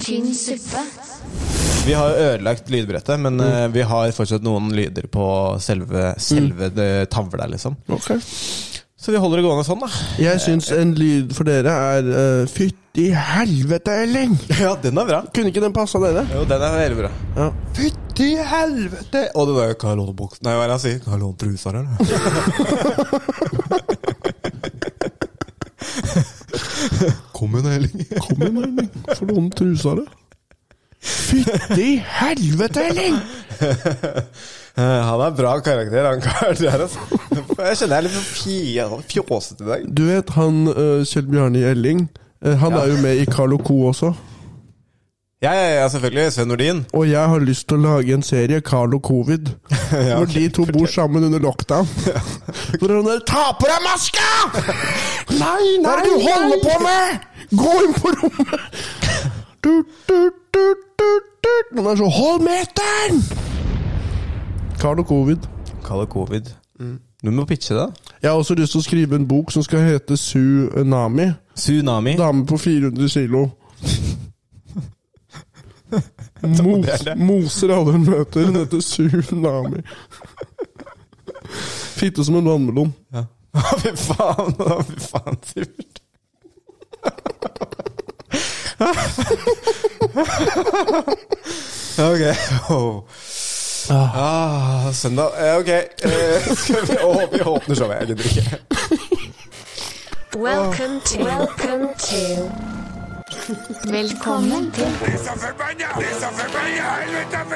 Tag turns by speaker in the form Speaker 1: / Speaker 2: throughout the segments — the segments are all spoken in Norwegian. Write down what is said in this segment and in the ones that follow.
Speaker 1: Tynn suppe.
Speaker 2: Vi har jo ødelagt lydbrettet, men eh, vi har fortsatt noen lyder på selve, selve det tavla, liksom.
Speaker 3: Ok.
Speaker 2: Så vi holder det gående sånn, da.
Speaker 3: Jeg syns en lyd for dere er eh, Fytti helvete, Elling!
Speaker 2: Ja, den er bra.
Speaker 3: Kunne ikke den passa dere?
Speaker 2: Jo, den er veldig bra.
Speaker 3: Ja.
Speaker 2: Fytti helvete! Og det der Kan jeg låne buksa Nei, hva er det han sier? Kan jeg låne trusa, eller? Kom igjen, Elling.
Speaker 3: Kom igjen, Elling. Får låne trusa di. Fytti helvete, Elling!
Speaker 2: Eh, Han er bra karakter, han karen der, altså. Jeg kjenner jeg er litt sånn fje- fjåsete i dag.
Speaker 3: Du vet han eh, Kjell Bjarne Elling? eh, han
Speaker 2: Ja.
Speaker 3: er jo med i Carlo Co. også.
Speaker 2: Ja, ja, ja, selvfølgelig. Sven Nordin.
Speaker 3: Og jeg har lyst til å lage en serie, Carlo Covid,
Speaker 2: Ja,
Speaker 3: hvor de to bor sammen under lockdown. Hvor han der 'Ta på deg maska!' nei, nei, Hva er det du
Speaker 2: nei.
Speaker 3: holder på med?! Gå inn på rommet! Tut, tut, tut, tut, tut. Noen er så 'Hold meteren!' Carlo Covid.
Speaker 2: Kall det covid. Du må pitche det. da.
Speaker 3: Jeg har også lyst til å skrive en bok som skal hete Tsunami.
Speaker 2: Tsunami.
Speaker 3: Dame på 400 kilo. Mos, moser alle hun møter. Hun heter Tsunami. Fitte som en vannmelon.
Speaker 2: Å, fy faen. Å, fy faen, Sivert. ok. Oh. Ah, søndag. Eh, Ok. Eh, skal vi, å, vi åpner showet. Jeg gidder ikke.
Speaker 1: Welcome to Welcome to Velkommen til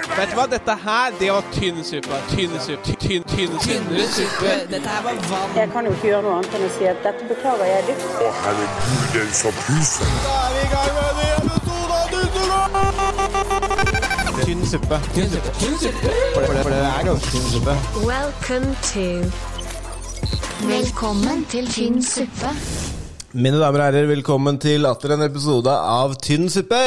Speaker 4: Vet du hva, dette her, det var tynn suppe. Tynn suppe. Tynn, tynn, tynn, tynn suppe.
Speaker 5: Dette her var vann.
Speaker 6: Jeg kan jo ikke gjøre noe annet enn å si at dette beklager jeg dypt.
Speaker 7: Å, herregud, den som puser.
Speaker 2: Tynn suppe. Tynn suppe. For, det, for det er ganske tynn suppe.
Speaker 1: Welcome to Velkommen til tynn suppe.
Speaker 2: Mine damer og herrer, velkommen til atter en episode av Tynn suppe!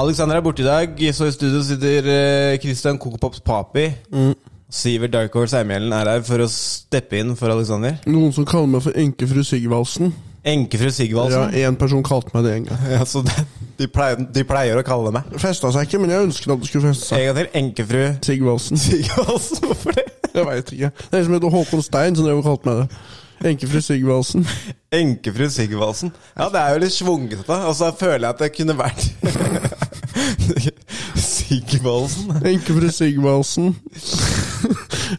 Speaker 2: Alexander er borte i dag, så i studio sitter eh, Christian Kokopops Papi. Sivert Dark Horse Eimhjellen er her for å steppe inn for Alexander.
Speaker 3: Noen som kaller meg for enkefru Sigvaldsen.
Speaker 2: Enkefru
Speaker 3: Ja,
Speaker 2: Sigvaldsen.
Speaker 3: Én person kalte meg det en gang.
Speaker 2: Ja, så det, de, pleier, de pleier å kalle meg.
Speaker 3: Festa seg ikke, men jeg ønsket at det skulle feste seg.
Speaker 2: En gang til. Enkefru
Speaker 3: Sigvaldsen.
Speaker 2: Sigvaldsen. Hvorfor det?
Speaker 3: Jeg veit ikke. Det er en som heter Håkon Stein, som drev og kalte meg det. Enkefru Sigvaldsen.
Speaker 2: Enkefru Sigvaldsen. Ja, det er jo litt svungete. Og så føler jeg at det kunne vært Sigvaldsen.
Speaker 3: Enkefru Sigvaldsen.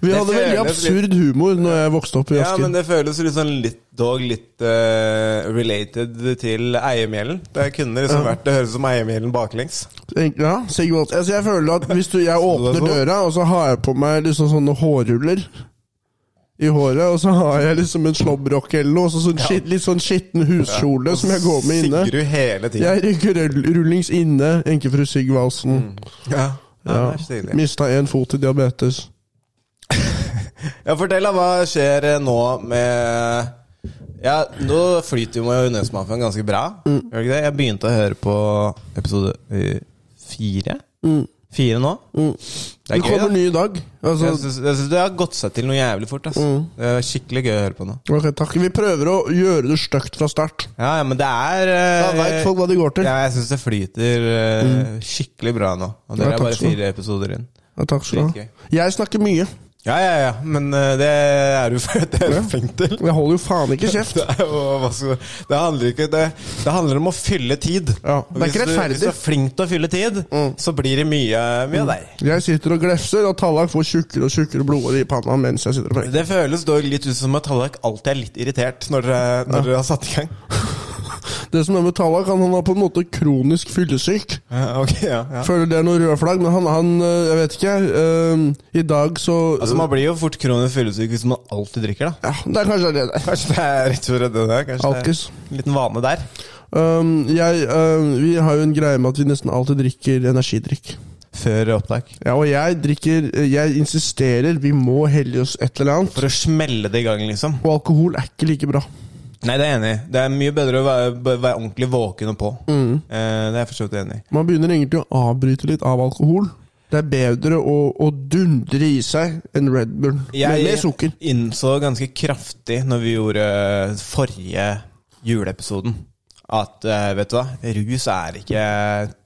Speaker 3: Vi hadde veldig
Speaker 2: føles
Speaker 3: absurd humor når jeg vokste opp i
Speaker 2: Ja, men
Speaker 3: Asker.
Speaker 2: det føles litt sånn litt, dog litt eh, related til eiemjelen. Det kunne liksom vært Det høres ut som eiemjelen baklengs.
Speaker 3: Tenk- Ja, Sigvaldsen. Altså, jeg føler at hvis du, jeg åpner
Speaker 2: sånn?
Speaker 3: døra, og så har jeg på meg liksom sånne hårruller i håret, og så har jeg liksom en slåbrok eller noe, og så sånn skitt, litt sånn skitten huskjole som jeg går med inne.
Speaker 2: Sigger du hele tiden.
Speaker 3: Jeg rygger rull- rullings inne, enkefru Sigvaldsen.
Speaker 2: Ja. Mm. Ja,
Speaker 3: Ja.
Speaker 2: det er så stilig.
Speaker 3: Mista én fot til diabetes.
Speaker 2: ja, fortell da, hva skjer eh, nå med Ja, nå flyter jo med Unesmafien ganske bra.
Speaker 3: Mm.
Speaker 2: Gjør det ikke det? Jeg begynte å høre på episode eh, fire. Fire nå. Det
Speaker 3: Mm. Det
Speaker 2: er gøy,
Speaker 3: kommer
Speaker 2: da.
Speaker 3: ny i dag. Altså, Mm.
Speaker 2: Jeg syns jeg syns det har gått seg til noe jævlig fort. Ass. Det er skikkelig gøy å høre på nå.
Speaker 3: ok, takk. Vi prøver å gjøre det stygt fra start.
Speaker 2: Ja, ja, men det er
Speaker 3: Da
Speaker 2: eh,
Speaker 3: veit folk hva de går til.
Speaker 2: Ja, jeg syns det flyter eh, skikkelig bra nå. Og
Speaker 3: Mm. Ja,
Speaker 2: dere er
Speaker 3: takk
Speaker 2: bare
Speaker 3: skal du ha.
Speaker 2: fire episoder inn.
Speaker 3: Ja, takk skal du ha. Jeg snakker mye.
Speaker 2: Ja, ja, ja, men eh, det er du det er du flink til.
Speaker 3: Jeg holder jo faen ikke kjeft.
Speaker 2: Det, er jo, hva skal, det handler ikke det, det handler om å fylle tid.
Speaker 3: Ja,
Speaker 2: Og
Speaker 3: det er ikke
Speaker 2: hvis du-
Speaker 3: rettferdig. Mm.
Speaker 2: Hvis du er flink til å fylle tid, så blir det mye, mye av deg.
Speaker 3: Jeg sitter og glefser, og Tallak får tjukkere og tjukkere blodårer i panna mens jeg sitter og preker.
Speaker 2: Det føles dog litt ut som at Tallak alltid er litt irritert når dere, når dere har satt i gang.
Speaker 3: Det som er med Tallak, han, han er på en måte kronisk fyllesyk.
Speaker 2: Ja, ok, ja, ja.
Speaker 3: Føler det er noen røde flagg, men han, han øh, Jeg vet ikke. øh, I dag så
Speaker 2: Altså, man blir jo fort kronisk fyllesyk hvis man alltid drikker, da.
Speaker 3: Ja, det er kanskje det der.
Speaker 2: Kanskje det er rett og slett det der. Kanskje
Speaker 3: Alkis.
Speaker 2: det er en liten vane der.
Speaker 3: Um, jeg, øh, vi har jo en greie med at vi nesten alltid drikker energidrikk.
Speaker 2: Før opptak.
Speaker 3: Ja, og jeg drikker øh, Jeg insisterer, vi må helle oss et eller annet.
Speaker 2: For å smelle det i gang, liksom.
Speaker 3: Og alkohol er ikke like bra.
Speaker 2: Nei, det er jeg enig i. Det er mye bedre å være, b- være ordentlig våken og på. Eh, det er jeg for så vidt enig i.
Speaker 3: Man begynner egentlig å avbryte litt av alkohol. Det er bedre å, å dundre i seg enn Red Bull.
Speaker 2: Jeg
Speaker 3: Men med sukker.
Speaker 2: innså ganske kraftig når vi gjorde forrige eh, juleepisoden, at eh, vet du hva, rus er ikke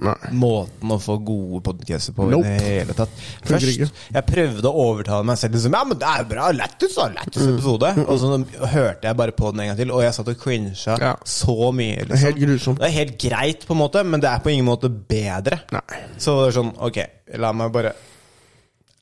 Speaker 3: Nei.
Speaker 2: måten å få gode podcaster på
Speaker 3: Nope.
Speaker 2: i det hele tatt.
Speaker 3: Funker
Speaker 2: Først,
Speaker 3: ikke.
Speaker 2: jeg prøvde å overtale meg selv liksom, Ja, men det er bra, lættis da, lættis episode Og så hørte jeg bare på den en gang til Og jeg satt og cringet
Speaker 3: Ja.
Speaker 2: så mye
Speaker 3: Det er
Speaker 2: liksom.
Speaker 3: helt grusomt.
Speaker 2: Det er helt greit på en måte Men det er på ingen måte bedre
Speaker 3: Nei.
Speaker 2: Så det er sånn, ok, la meg bare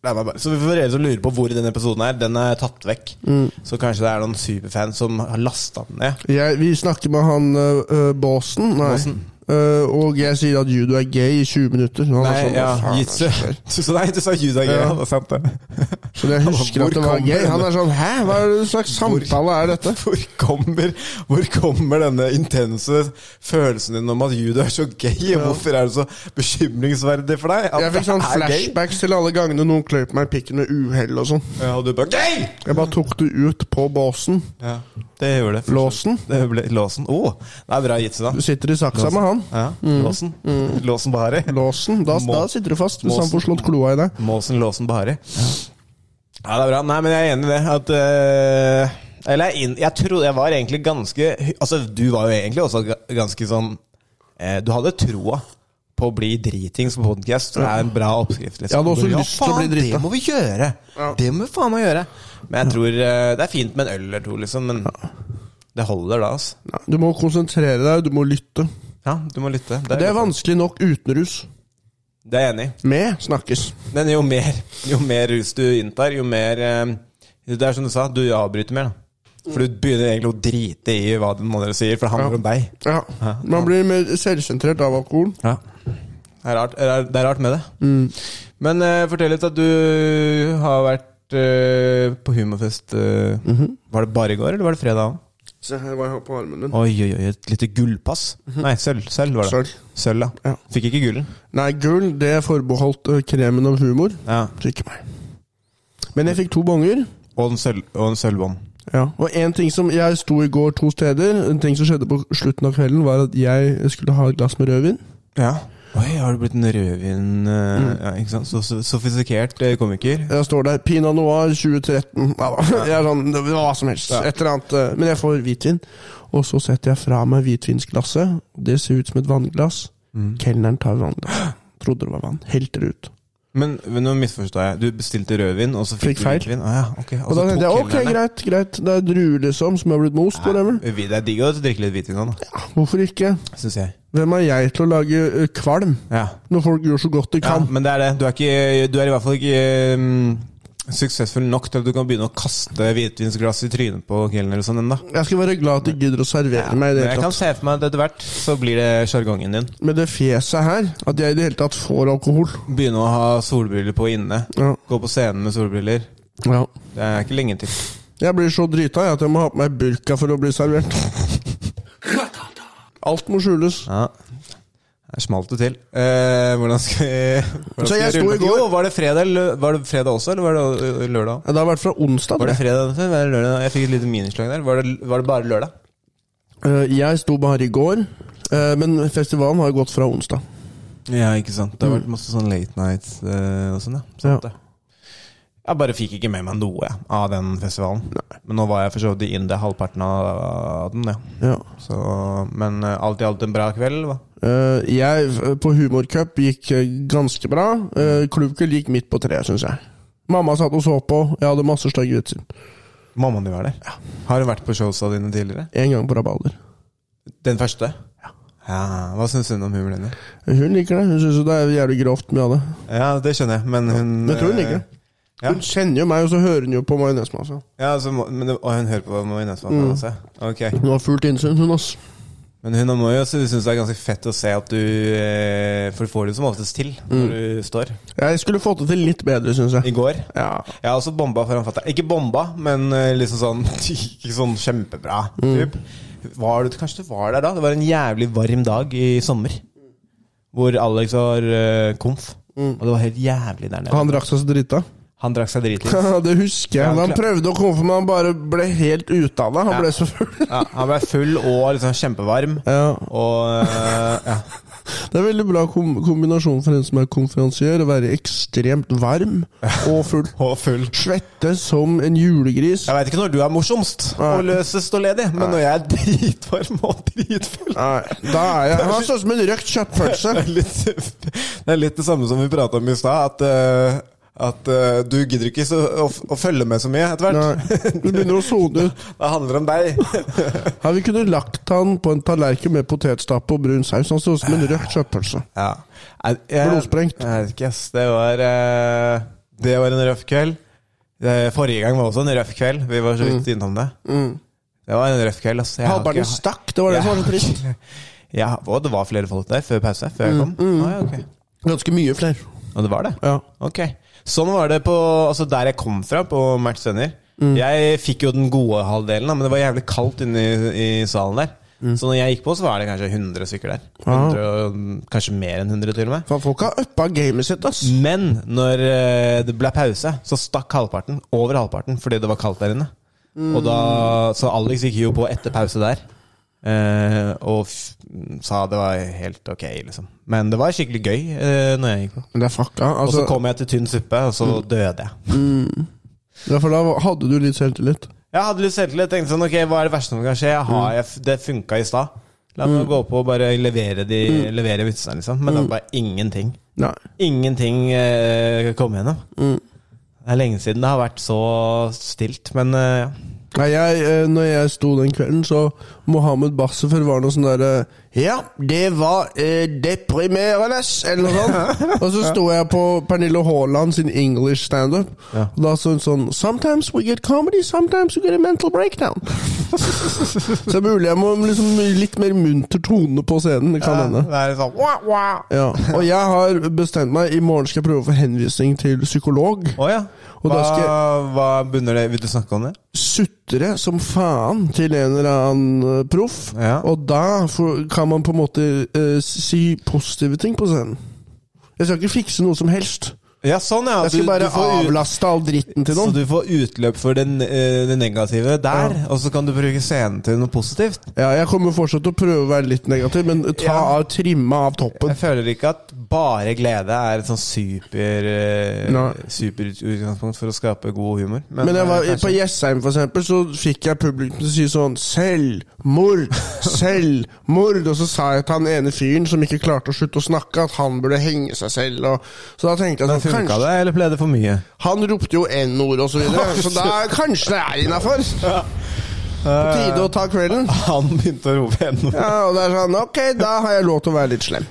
Speaker 2: La meg bare Så vi får dere som lurer på hvor denne episoden er Den er tatt vekk
Speaker 3: Mm.
Speaker 2: Så kanskje det er noen superfans som har lastet den ned
Speaker 3: Jeg, vi snakker med han uh, Båsen, nei.
Speaker 2: Båsen.
Speaker 3: Eh, og jeg sier at judo er gay i 20 minutter. Han er
Speaker 2: Nei,
Speaker 3: sånn,
Speaker 2: ja,
Speaker 3: «Hva faen er det
Speaker 2: jitsu
Speaker 3: som skjer?»
Speaker 2: Du sa- Nei, du sa judo er gøy, ja,
Speaker 3: Ja.
Speaker 2: det er sant det
Speaker 3: Så jeg husker
Speaker 2: Hvor
Speaker 3: at det var
Speaker 2: kommer
Speaker 3: gay. Han
Speaker 2: denne-
Speaker 3: er sånn Hæ, hva er det slags samtale er dette?
Speaker 2: Hvor kommer, hvor kommer denne intense følelsen din om at judo er så gay? Og hvorfor er det så bekymringsverdig for deg? At
Speaker 3: Jeg fikk sånn
Speaker 2: det er gay?
Speaker 3: flashbacks til alle gangene noen kløyp meg i pikken med uhell og sånn.
Speaker 2: Ja, og du bare Gay!
Speaker 3: Jeg bare tok det ut på båsen.
Speaker 2: Ja, det gjør det.
Speaker 3: Låsen.
Speaker 2: Det ble, låsen. Å, det er bra jitsu, da.
Speaker 3: Du sitter i saksa med han.
Speaker 2: Ja, Låsen.
Speaker 3: Mm.
Speaker 2: Låsen Bahari.
Speaker 3: Låsen. Da,
Speaker 2: Må-
Speaker 3: da sitter du fast, hvis han
Speaker 2: Måsen.
Speaker 3: får slått kloa i deg.
Speaker 2: Måsen, låsen, Bahari. Ja, det er bra. Nei, men jeg er enig i det. At eh, Eller jeg, er inn- jeg trodde jeg var egentlig ganske Altså, du var jo egentlig også ga- ganske sånn eh, Du hadde troa på å bli dritings på podkast. Det er en bra oppskrift. Liksom.
Speaker 3: Jeg hadde også
Speaker 2: Ja,
Speaker 3: lyst til å
Speaker 2: faen,
Speaker 3: bli drita.
Speaker 2: Det må vi gjøre! Det må vi faen meg gjøre. Men jeg tror eh, det er fint med en øl eller to, liksom. Men det holder da, altså.
Speaker 3: Du må konsentrere deg, du må lytte.
Speaker 2: Ja, du må lytte.
Speaker 3: Det er vanskelig nok uten rus.
Speaker 2: Det er jeg enig i.
Speaker 3: Med snakkes.
Speaker 2: Men jo mer, jo mer rus du inntar, jo mer eh, Det er som du sa, du avbryter mer. da. For du begynner egentlig å drite i hva den andre sier, for det handler om deg.
Speaker 3: Ja. Man blir mer selvsentrert av alkoholen.
Speaker 2: Det er rart, det er, det er rart med det. Men eh, fortell litt at du har vært eh, på humorfest. eh, Var det bare i går, eller var det fredag òg?
Speaker 3: Se her hva jeg har på armen min.
Speaker 2: Oi, oi, oi, et lite gullpass. Mhm. Nei, sølv, sølv var det.
Speaker 3: Sølv.
Speaker 2: Sølv, ja.
Speaker 3: Ja.
Speaker 2: Fikk ikke gullen.
Speaker 3: Nei, gull det er forbeholdt ø, kremen av humor.
Speaker 2: Ja.
Speaker 3: Så ikke meg. Men jeg fikk to bonger.
Speaker 2: Og en sølv- og en sølvbånd.
Speaker 3: Ja. Og en ting som jeg sto i går to steder, en ting som skjedde på slutten av kvelden, var at jeg skulle ha et glass med rødvin.
Speaker 2: Ja. Oi, har du blitt en rødvin eh,
Speaker 3: Mm.
Speaker 2: ja, ikke sant? Så, så sofistikert eh, komiker.
Speaker 3: Jeg står der. Pinot noir 2013. Nei da. Jeg er sånn, det var hva som helst.
Speaker 2: Ja.
Speaker 3: Et eller annet. ø, Men jeg får hvitvin. Og så setter jeg fra meg hvitvinsglasset. Det ser ut som et vannglass.
Speaker 2: Mm.
Speaker 3: Kelneren tar vannglasset. Trodde det var vann. Helter det ut.
Speaker 2: Men, men nå misforstod jeg. Du bestilte rødvin, og så fikk
Speaker 3: Fikk
Speaker 2: du
Speaker 3: feil.
Speaker 2: hvitvin? Ah, ja, ok.
Speaker 3: Og da tenkte jeg ok, greit, greit. Det er druer liksom som har blitt most. Whatever.
Speaker 2: greit. Det er digg å drikke litt hvitvin nå, da,
Speaker 3: Hvorfor ikke?
Speaker 2: syns jeg.
Speaker 3: Hvem er jeg til å lage ø, kvalm
Speaker 2: Ja.
Speaker 3: når folk gjør så godt de
Speaker 2: ja,
Speaker 3: kan?
Speaker 2: men det er det. Du er, ikke, du er i hvert fall ikke mm, suksessfull nok til at du kan begynne å kaste hvitvinsglass i trynet på kelner og sånn ennå.
Speaker 3: Jeg skal være glad at de gidder å servere meg i det
Speaker 2: Men jeg
Speaker 3: hele
Speaker 2: kan
Speaker 3: tatt.
Speaker 2: se for meg at etter hvert så blir det sjargongen din.
Speaker 3: Med det fjeset her, at jeg i det hele tatt får alkohol.
Speaker 2: Begynne å ha solbriller på inne.
Speaker 3: Ja.
Speaker 2: Gå på scenen med solbriller.
Speaker 3: Ja.
Speaker 2: Det er ikke lenge til.
Speaker 3: Jeg blir så drita jeg, at jeg må ha på meg burka for å bli servert. Alt må skjules.
Speaker 2: Ja. Her smalt det til. Eh, hvordan skal vi hvordan
Speaker 3: Så
Speaker 2: skal
Speaker 3: jeg
Speaker 2: vi
Speaker 3: sto
Speaker 2: rulle
Speaker 3: i
Speaker 2: på?
Speaker 3: går-
Speaker 2: Jo, var det, fredag, eller- var det fredag også, eller var det ø, ø, lørdag?
Speaker 3: Det har vært fra
Speaker 2: Var
Speaker 3: onsdag. tror
Speaker 2: det
Speaker 3: jeg.
Speaker 2: fredag? eller Var det lørdag? Jeg fikk et lite minislag der. Var det, var det bare lørdag?
Speaker 3: Eh, Jeg sto bare i går, eh, men festivalen har jo gått fra onsdag.
Speaker 2: Ja, ikke sant. Det har vært masse sånn late nights og sånn, ja.
Speaker 3: Sant
Speaker 2: ja.
Speaker 3: det.
Speaker 2: Jeg bare fikk ikke med meg noe jeg, av den festivalen. Men nå var jeg for så vidt i India halvparten av den, ja.
Speaker 3: Ja.
Speaker 2: Så, men eh, alt i alt en bra kveld, hva?
Speaker 3: Eh, Jeg eh, på humorcup gikk eh, ganske bra. Eh, Klubbkveld gikk midt på treet, syns jeg. Mamma satt og så på. Jeg hadde masse stygge vitser.
Speaker 2: Mammaen din var der. Har hun vært på showsa dine tidligere?
Speaker 3: En gang på Rabalder.
Speaker 2: Den første? Ja. Hva syns hun om humoren din?
Speaker 3: Hun liker det. Hun syns jo det er jævlig grovt mye av det.
Speaker 2: Ja, det skjønner jeg, men hun
Speaker 3: Men jeg tror hun liker det.
Speaker 2: Ja.
Speaker 3: Hun kjenner jo meg, og så hører hun jo på majonesmasa.
Speaker 2: Ja, altså, må- men, det- og hun hører på Majonesmannen mm. også? Ok.
Speaker 3: Hun har fullt innsyn, hun, ass.
Speaker 2: Men hun må jo synes det er ganske fett å se at du eh, For du får det som oftest til
Speaker 3: Mm.
Speaker 2: når du står.
Speaker 3: Jeg skulle fått det til litt bedre, syns
Speaker 2: I
Speaker 3: jeg.
Speaker 2: går
Speaker 3: Ja.
Speaker 2: Jeg har også bomba foran fatter'n. Ikke bomba, men eh, liksom sånn Ikke sånn kjempebra.
Speaker 3: Mm.
Speaker 2: Typ. Var du, kanskje du var der da? Det var en jævlig varm dag i sommer. Hvor Alex var eh, komf. Og det var helt jævlig der nede.
Speaker 3: Mm. Han drakk seg så drita.
Speaker 2: Han drakk seg dritings.
Speaker 3: det husker jeg.
Speaker 2: Ja,
Speaker 3: Men han
Speaker 2: klar.
Speaker 3: prøvde å komme for meg, han bare ble helt ute av det. Han
Speaker 2: Ja.
Speaker 3: ble så full.
Speaker 2: Ja, han ble full og liksom kjempevarm.
Speaker 3: Ja.
Speaker 2: Og eh, ja.
Speaker 3: Det er veldig bra kom kombinasjon for en som er konferansier, å være ekstremt varm og full.
Speaker 2: Og full.
Speaker 3: Svette som en julegris.
Speaker 2: Jeg veit ikke når du er morsomst og løsest og ledig, men når jeg er dritvarm og dritfull
Speaker 3: Nei, da er jeg Han står som en røkt kjøttpølse.
Speaker 2: Det er litt, det er litt det samme som vi prata om i stad, at, eh, at eh, du gidder ikke så, å, f- å følge med så mye etter hvert.
Speaker 3: Nei, Du begynner å sone ut.
Speaker 2: Det handler om deg.
Speaker 3: Her vi kunne lagt han på en tallerken med potetstappe og brun saus. Han står som en røkt kjøttpølse.
Speaker 2: Ja. Jeg, jeg,
Speaker 3: Blodsprengt.
Speaker 2: Jeg vet ikke, ass. Det var, eh, det var en røff kveld. Det- Forrige gang var også en røff kveld. Vi var så
Speaker 3: Mm.
Speaker 2: vidt innom det. Det var en røff kveld, ass. Jeg har
Speaker 3: Haberden
Speaker 2: ikke-
Speaker 3: stakk, det var det som var så trist. Mm,
Speaker 2: Ja, og det var flere folk der før pause, før jeg kom. Ah, ja, ok.
Speaker 3: Ganske mye flere.
Speaker 2: Og det var det?
Speaker 3: Ja.
Speaker 2: Ok. Sånn var det på, altså der jeg kom fra, på Match Sender.
Speaker 3: Mm.
Speaker 2: Jeg fikk jo den gode halvdelen, da, men det var jævlig kaldt inne i, i salen der.
Speaker 3: Mm.
Speaker 2: Så når jeg gikk på, så var det kanskje 100 stykker der.
Speaker 3: Ah.
Speaker 2: 100, og- kanskje mer enn 100, til og med.
Speaker 3: Faen, folk har uppa gamet sitt, ass.
Speaker 2: Men når eh, det ble pause, så stakk halvparten over halvparten fordi det var kaldt der inne. Og da, så Alex gikk jo på etter pause der. eh, og f sa det var helt ok, liksom. Men det var skikkelig gøy uh, når jeg gikk på.
Speaker 3: Men det er fucka.
Speaker 2: Og så
Speaker 3: Altså, Mm.
Speaker 2: kom jeg til tynn suppe, og så døde jeg.
Speaker 3: ja, for da hadde du litt selvtillit.
Speaker 2: Jeg hadde litt selvtillit. Tenkte sånn, ok, hva er det verste som kan skje? Jeg
Speaker 3: Mm.
Speaker 2: har, jeg, f- det funka i stad. La meg gå på og bare levere, de,
Speaker 3: Mm.
Speaker 2: levere vitsene, liksom. Men det var bare ingenting.
Speaker 3: Nei.
Speaker 2: Ingenting eh, kom gjennom.
Speaker 3: Mm.
Speaker 2: Det er lenge siden det har vært så stilt, men eh, ja.
Speaker 3: Nei, jeg, eh, når jeg sto den kvelden, så Mohammed Bassefer var noe sånn derre Ja, det var eh, deprimerende, eller noe sånt. Og så sto jeg på Pernille Haaland sin English standup.
Speaker 2: Ja.
Speaker 3: Og Da så hun sånn Sometimes we get comedy, sometimes we get a mental breakdown. så det er mulig jeg må liksom litt mer munter tone på scenen. Det kan hende.
Speaker 2: det er sånn wah, wah.
Speaker 3: Ja. Og jeg har bestemt meg, i morgen skal jeg prøve å få henvisning til psykolog.
Speaker 2: Å ja.
Speaker 3: Og
Speaker 2: Hva,
Speaker 3: da skal
Speaker 2: hva bunner det Vil du snakke om det?
Speaker 3: sutre som faen til en eller annen eh, proff,
Speaker 2: Ja.
Speaker 3: og da får, kan man på en måte eh, si positive ting på scenen. Jeg skal ikke fikse noe som helst.
Speaker 2: Ja, sånn, ja.
Speaker 3: Jeg skal bare
Speaker 2: får ut-
Speaker 3: avlaste all dritten til
Speaker 2: Så
Speaker 3: noen.
Speaker 2: du får utløp for den, eh, det negative der, og så kan du bruke scenen til noe positivt.
Speaker 3: Ja, jeg kommer fortsatt til å prøve å være litt negativ, men ta
Speaker 2: Ja.
Speaker 3: av, trimme av toppen.
Speaker 2: Jeg føler ikke at bare glede er et sånn super eh,
Speaker 3: Nei.
Speaker 2: Super utgangspunkt for å skape god humor.
Speaker 3: Men jeg var,
Speaker 2: eh,
Speaker 3: på
Speaker 2: kanskje-
Speaker 3: Jessheim for eksempel, så fikk jeg publikum til å si sånn Selvmord! Selvmord! Og så sa jeg til han ene fyren som ikke klarte å slutte å snakke, at han burde henge seg selv. Og, så da tenkte jeg
Speaker 2: Men
Speaker 3: sånn
Speaker 2: eh, funka
Speaker 3: kanskje,
Speaker 2: det, eller ble det for mye?
Speaker 3: Han ropte jo N-ord og så videre, så da kanskje det er innafor. På tide å ta kvelden.
Speaker 2: Han begynte å rope ennå.
Speaker 3: Ja, og det er sånn, ok, da har jeg lov til å være litt slem.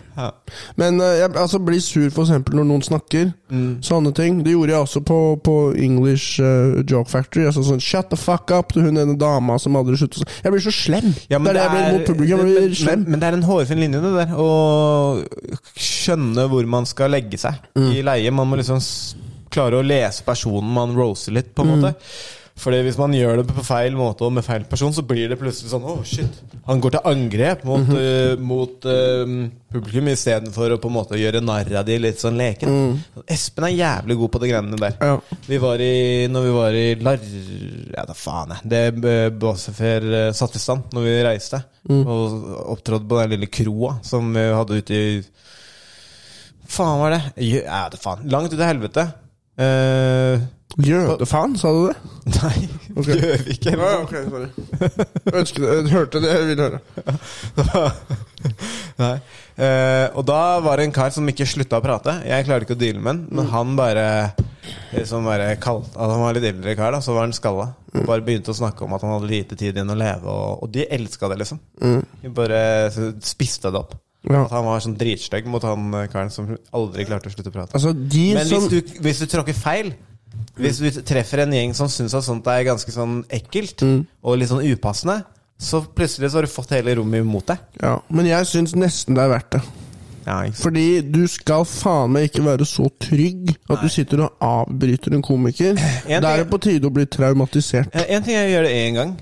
Speaker 3: Men eh, jeg altså, blir sur for eksempel når noen snakker.
Speaker 2: Mm.
Speaker 3: Sånne ting. Det gjorde jeg også på, på English eh, Joke Factory. Jeg sa sånn shut the fuck up til hun ene dama som aldri sluttet å snakke. Jeg blir så slem. det er det jeg blir mot publikum. Jeg
Speaker 2: men,
Speaker 3: blir slem.
Speaker 2: men, men det er en hårfin linje, det der. Å skjønne hvor man skal legge seg i leie. Man må liksom s- klare å lese personen man roser litt, på en måte. Fordi Hvis man gjør det på feil måte og med feil person, så blir det plutselig sånn Å, shit. Han går til angrep mot, eh, mot eh, publikum istedenfor å på en måte gjøre narr av de litt sånn leken. Espen er jævlig god på de greiene der.
Speaker 3: Ja.
Speaker 2: Vi var i, når vi var i Lar... Ja, da faen jeg. Det eh, Båsefer eh, satte i stand når vi reiste. Og opptrådte på den lille kroa som vi hadde ute i Faen var det? Jø- Ja, da faen. Langt ut i helvete. Eh,
Speaker 3: Jødefaen, sa du det?
Speaker 2: nei, Gjøvik eller noe.
Speaker 3: ok, sorry. Ønsket, jeg hørte det jeg ville høre.
Speaker 2: Nei. Eh, og da var det en kar som ikke slutta å prate. Jeg klarte ikke å deale med han,
Speaker 3: Mm.
Speaker 2: men han bare liksom bare kalt, altså, Han var litt eldre kar, da, så var han skalla.
Speaker 3: Mm.
Speaker 2: Og bare begynte å snakke om at han hadde lite tid igjen å leve, og, og de elska det, liksom. De bare spiste det opp.
Speaker 3: Mm. Ja.
Speaker 2: At han var sånn dritstygg mot han eh, karen som aldri klarte å slutte å prate.
Speaker 3: Altså, de
Speaker 2: Men hvis
Speaker 3: som
Speaker 2: du, hvis du tråkker feil Hvis du treffer en gjeng som syns at sånt er ganske sånn ekkelt og litt sånn upassende, så plutselig så har du fått hele rommet imot deg.
Speaker 3: Ja, men jeg syns nesten det er verdt det.
Speaker 2: Ja, ikke sant?
Speaker 3: Fordi du skal faen meg ikke være så trygg at du sitter og avbryter en komiker. Da
Speaker 2: ting-
Speaker 3: er det på tide å bli traumatisert.
Speaker 2: Eh, En ting er å gjøre det én gang,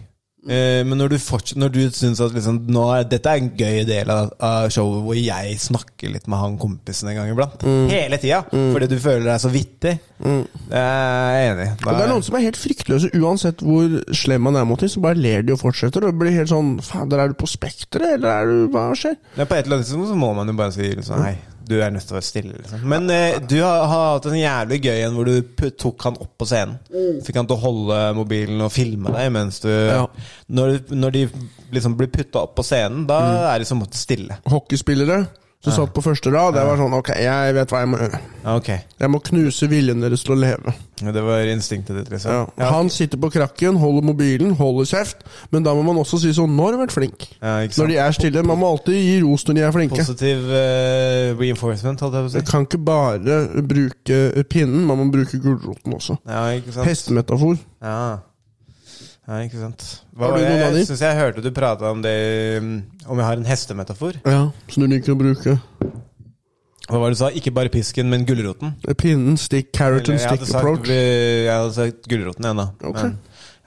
Speaker 2: Eh, men når du, forts- når du syns at liksom, nå er, dette er en gøy del av, av showet hvor jeg snakker litt med han kompisen en gang iblant Hele tida! Fordi du føler deg så vittig. Det er jeg enig i.
Speaker 3: Og det er noen som er helt fryktløse, uansett hvor slem man er mot dem, så bare ler de og fortsetter. Og det blir helt sånn Fader, er du på Spekteret, eller er du Hva skjer?
Speaker 2: Ja, på et eller annet tidspunkt så må man jo bare si liksom, Hei, du er nødt til å være stille liksom. Men eh, du har, har hatt en jævlig gøy en Hvor du pu- tok han opp på scenen Fikk han til å holde mobilen og filme deg Mens du Når, når de liksom blir puttet opp på scenen Da
Speaker 3: Mm.
Speaker 2: er det som måtte stille
Speaker 3: Hockeyspillere som satt på første rad, jeg var sånn Ok, jeg vet hva jeg må gjøre.
Speaker 2: Ja, Ok,
Speaker 3: Jeg må knuse viljen deres til å leve.
Speaker 2: det var instinktet ditt
Speaker 3: Ja.
Speaker 2: liksom
Speaker 3: Han sitter på krakken, holder mobilen, holder kjeft, men da må man også si sånn Nå har du vært flink.
Speaker 2: Ja, ikke sant.
Speaker 3: Når de er stille. Man må alltid gi ros når de er flinke.
Speaker 2: Positiv eh, reinforcement holdt jeg på å
Speaker 3: Du
Speaker 2: si
Speaker 3: kan ikke bare bruke pinnen, man må bruke gulroten også.
Speaker 2: Ja, ikke sant
Speaker 3: Hestemetafor.
Speaker 2: Ja. ja, ikke sant Hva,
Speaker 3: Har du
Speaker 2: var det-
Speaker 3: noen av de?
Speaker 2: Jeg synes jeg hørte du pratet om det mm, Om jeg har en hestemetafor
Speaker 3: Ja, som du liker å bruke.
Speaker 2: Hva var det du sa? Ikke bare pisken, men gulroten
Speaker 3: Pinnen, stick, carrot
Speaker 2: Eller,
Speaker 3: and
Speaker 2: jeg
Speaker 3: stick
Speaker 2: hadde sagt,
Speaker 3: approach.
Speaker 2: Jeg hadde sagt gulroten igjen, da.
Speaker 3: Ok.
Speaker 2: Men,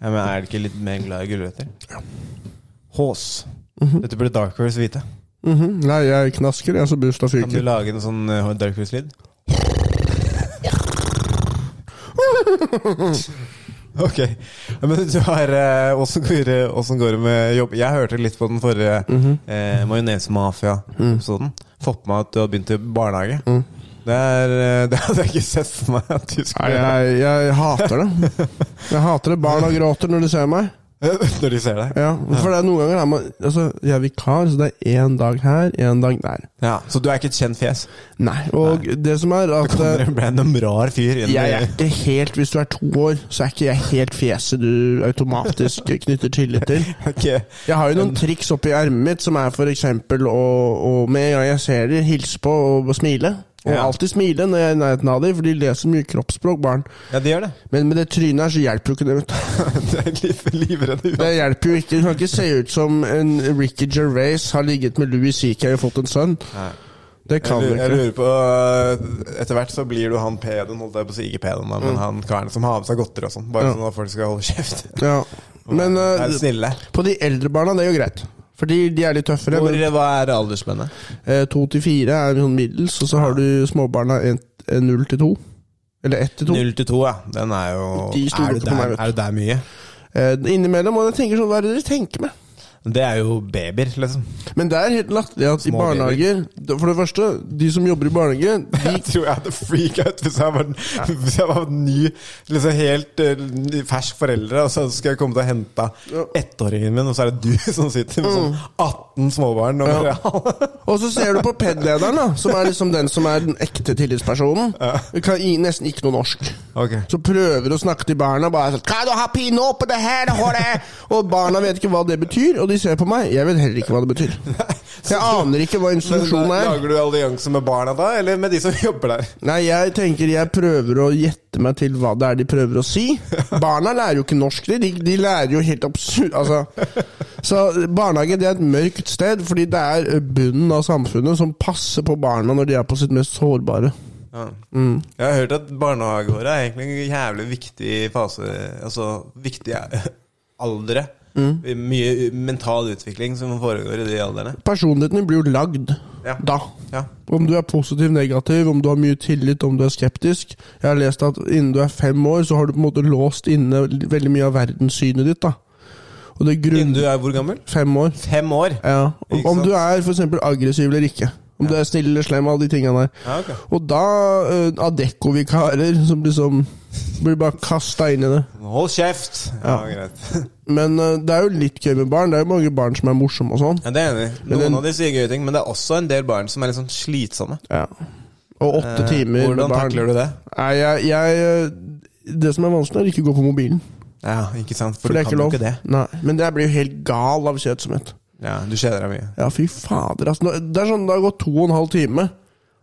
Speaker 2: ja, men er det ikke litt mer glad i gulrøtter? Hås. Dette burde Dark Horse vite.
Speaker 3: Mhm. Nei, jeg knasker, jeg, så bursdag
Speaker 2: Kan du
Speaker 3: fyker.
Speaker 2: lage en sånn eh, Dark Horse-lyd? Ok. Ja, Men du har eh, Åssen går, det- åssen går det med jobb? Jeg hørte litt på den forrige
Speaker 3: Mhm.
Speaker 2: eh,
Speaker 3: Mm.
Speaker 2: Majones-mafia-episoden. Fått med meg at du har begynt i barnehage. Det, er, eh, det hadde jeg ikke sett for meg at du skulle
Speaker 3: Nei, jeg, jeg hater det. Jeg hater det. Barna gråter når de ser meg.
Speaker 2: Når de ser deg?
Speaker 3: Ja, for det er noen ganger er man, altså, Jeg er vikar, så det er én dag her, én dag der.
Speaker 2: Ja, Så du er ikke et kjent fjes?
Speaker 3: Nei, og det som er at
Speaker 2: Kommer
Speaker 3: eh,
Speaker 2: en random rar fyr inn
Speaker 3: jeg er ikke helt, Hvis du er to år, så er ikke jeg helt fjeset du automatisk knytter tillit til.
Speaker 2: Ok.
Speaker 3: Jeg har jo noen triks oppi ermet mitt, som er for eksempel å, å med en gang jeg ser dem, hilse på og, og smile. Og
Speaker 2: Ja.
Speaker 3: alltid smile når jeg er i nærheten av dem, for de leser mye kroppsspråk, barn.
Speaker 2: Ja, de gjør det.
Speaker 3: Men med det trynet her, så hjelper jo ikke det. vet du.
Speaker 2: det er liv, livredd
Speaker 3: Det hjelper jo ikke. Du kan ikke se ut som en Ricky Gervais har ligget med Louis CK og fått en sønn. Det kan du
Speaker 2: Jeg, jeg
Speaker 3: ikke.
Speaker 2: lurer på eh, Etter hvert så blir du han pedoen, holdt jeg på å si. Ikke pedoen, da, men han karen som har med seg godteri og sånn. Bare
Speaker 3: Ja.
Speaker 2: sånn at folk skal holde kjeft.
Speaker 3: Ja. Men eh,
Speaker 2: er snille.
Speaker 3: på de eldre barna, det er jo greit. Fordi de er litt tøffere.
Speaker 2: Hvor, eh,
Speaker 3: men-
Speaker 2: hva er aldersspennet?
Speaker 3: Eh, To til fire er sånn middels, og så har du småbarna en- eh, null til to. Eller ett til to.
Speaker 2: Null til to, ja. Den er jo
Speaker 3: De stoler
Speaker 2: er, du
Speaker 3: ikke på meg,
Speaker 2: der,
Speaker 3: vet du.
Speaker 2: er du der mye?
Speaker 3: Eh, Innimellom. Og jeg tenker sånn, hva er det dere tenker med?
Speaker 2: Det er jo babyer, liksom.
Speaker 3: Men det er helt latterlig at i
Speaker 2: Små
Speaker 3: barnehager For det første, de som jobber i barnehage
Speaker 2: Jeg tror jeg hadde freak out hvis jeg var, hvis jeg var ny, liksom helt eh, ny- fersk foreldre, og så skal jeg komme til å hente ettåringen min, og så er det du som sitter med sånn 18 småbarn. Og bare,
Speaker 3: Og så ser du på PED-lederen, da, som er liksom den som er den ekte tillitspersonen. Kan i- nesten ikke noe norsk.
Speaker 2: Ok.
Speaker 3: Så prøver å snakke til barna, bare sånn «Kan du ha pinne oppå det her, det håret?» Og barna vet ikke hva det betyr, og de ser på meg. Jeg vet heller ikke hva det betyr. Jeg aner ikke hva
Speaker 2: Men
Speaker 3: instruksjonen er.
Speaker 2: Lager du allianse med barna da, eller med de som jobber der?
Speaker 3: Nei, jeg tenker jeg prøver å gjette meg til hva det er de prøver å si. Barna lærer jo ikke norsk, de, de lærer jo helt absurd altså. Så barnehage det er et mørkt sted, fordi det er eh, bunnen av samfunnet som passer på barna når de er på sitt mest sårbare. Mm.
Speaker 2: Jeg har hørt at barnehageåret er egentlig en jævlig viktig fase, altså viktige aldre.
Speaker 3: Mm.
Speaker 2: Mye mental utvikling som foregår i de aldrene.
Speaker 3: Personligheten din blir jo lagd
Speaker 2: Ja.
Speaker 3: da.
Speaker 2: Ja.
Speaker 3: Om du er positiv, negativ, om du har mye tillit, om du er skeptisk. Jeg har lest at innen du er fem år, så har du på en måte låst inne veldig mye av verdenssynet ditt. da. Og det
Speaker 2: Innen
Speaker 3: grunn...
Speaker 2: du er hvor gammel?
Speaker 3: Fem år.
Speaker 2: Fem år.
Speaker 3: Ja, om,
Speaker 2: Ikke
Speaker 3: om
Speaker 2: sant?
Speaker 3: du er for eksempel aggressiv eller ikke. Om du er snill eller slem, alle de tingene der.
Speaker 2: Ja, ok.
Speaker 3: Og da uh, Adecco-vikarer som liksom blir bare kasta inn i det.
Speaker 2: Hold kjeft! Ja, greit.
Speaker 3: Men eh, det er jo litt gøy med barn. Det er jo mange barn som er morsomme og sånn.
Speaker 2: Ja, det er jeg enig. i.
Speaker 3: Men
Speaker 2: Noen
Speaker 3: den-
Speaker 2: av de sier gøye ting, men det er også en del barn som er litt sånn slitsomme.
Speaker 3: Ja. Og åtte
Speaker 2: Eh,
Speaker 3: timer
Speaker 2: Hvordan
Speaker 3: med barn.
Speaker 2: takler du det?
Speaker 3: Nei, jeg, jeg, eh, det som er vanskelig, er å ikke gå på mobilen.
Speaker 2: Ja, ikke sant? For,
Speaker 3: For det
Speaker 2: du
Speaker 3: er
Speaker 2: kan jo
Speaker 3: ikke lov.
Speaker 2: ikke det.
Speaker 3: Nei, men jeg blir jo helt gal av kjedsomhet.
Speaker 2: Ja, Du kjeder deg mye.
Speaker 3: Ja, fy fader. Altså, Nå- det er sånn, det har gått to og en halv time,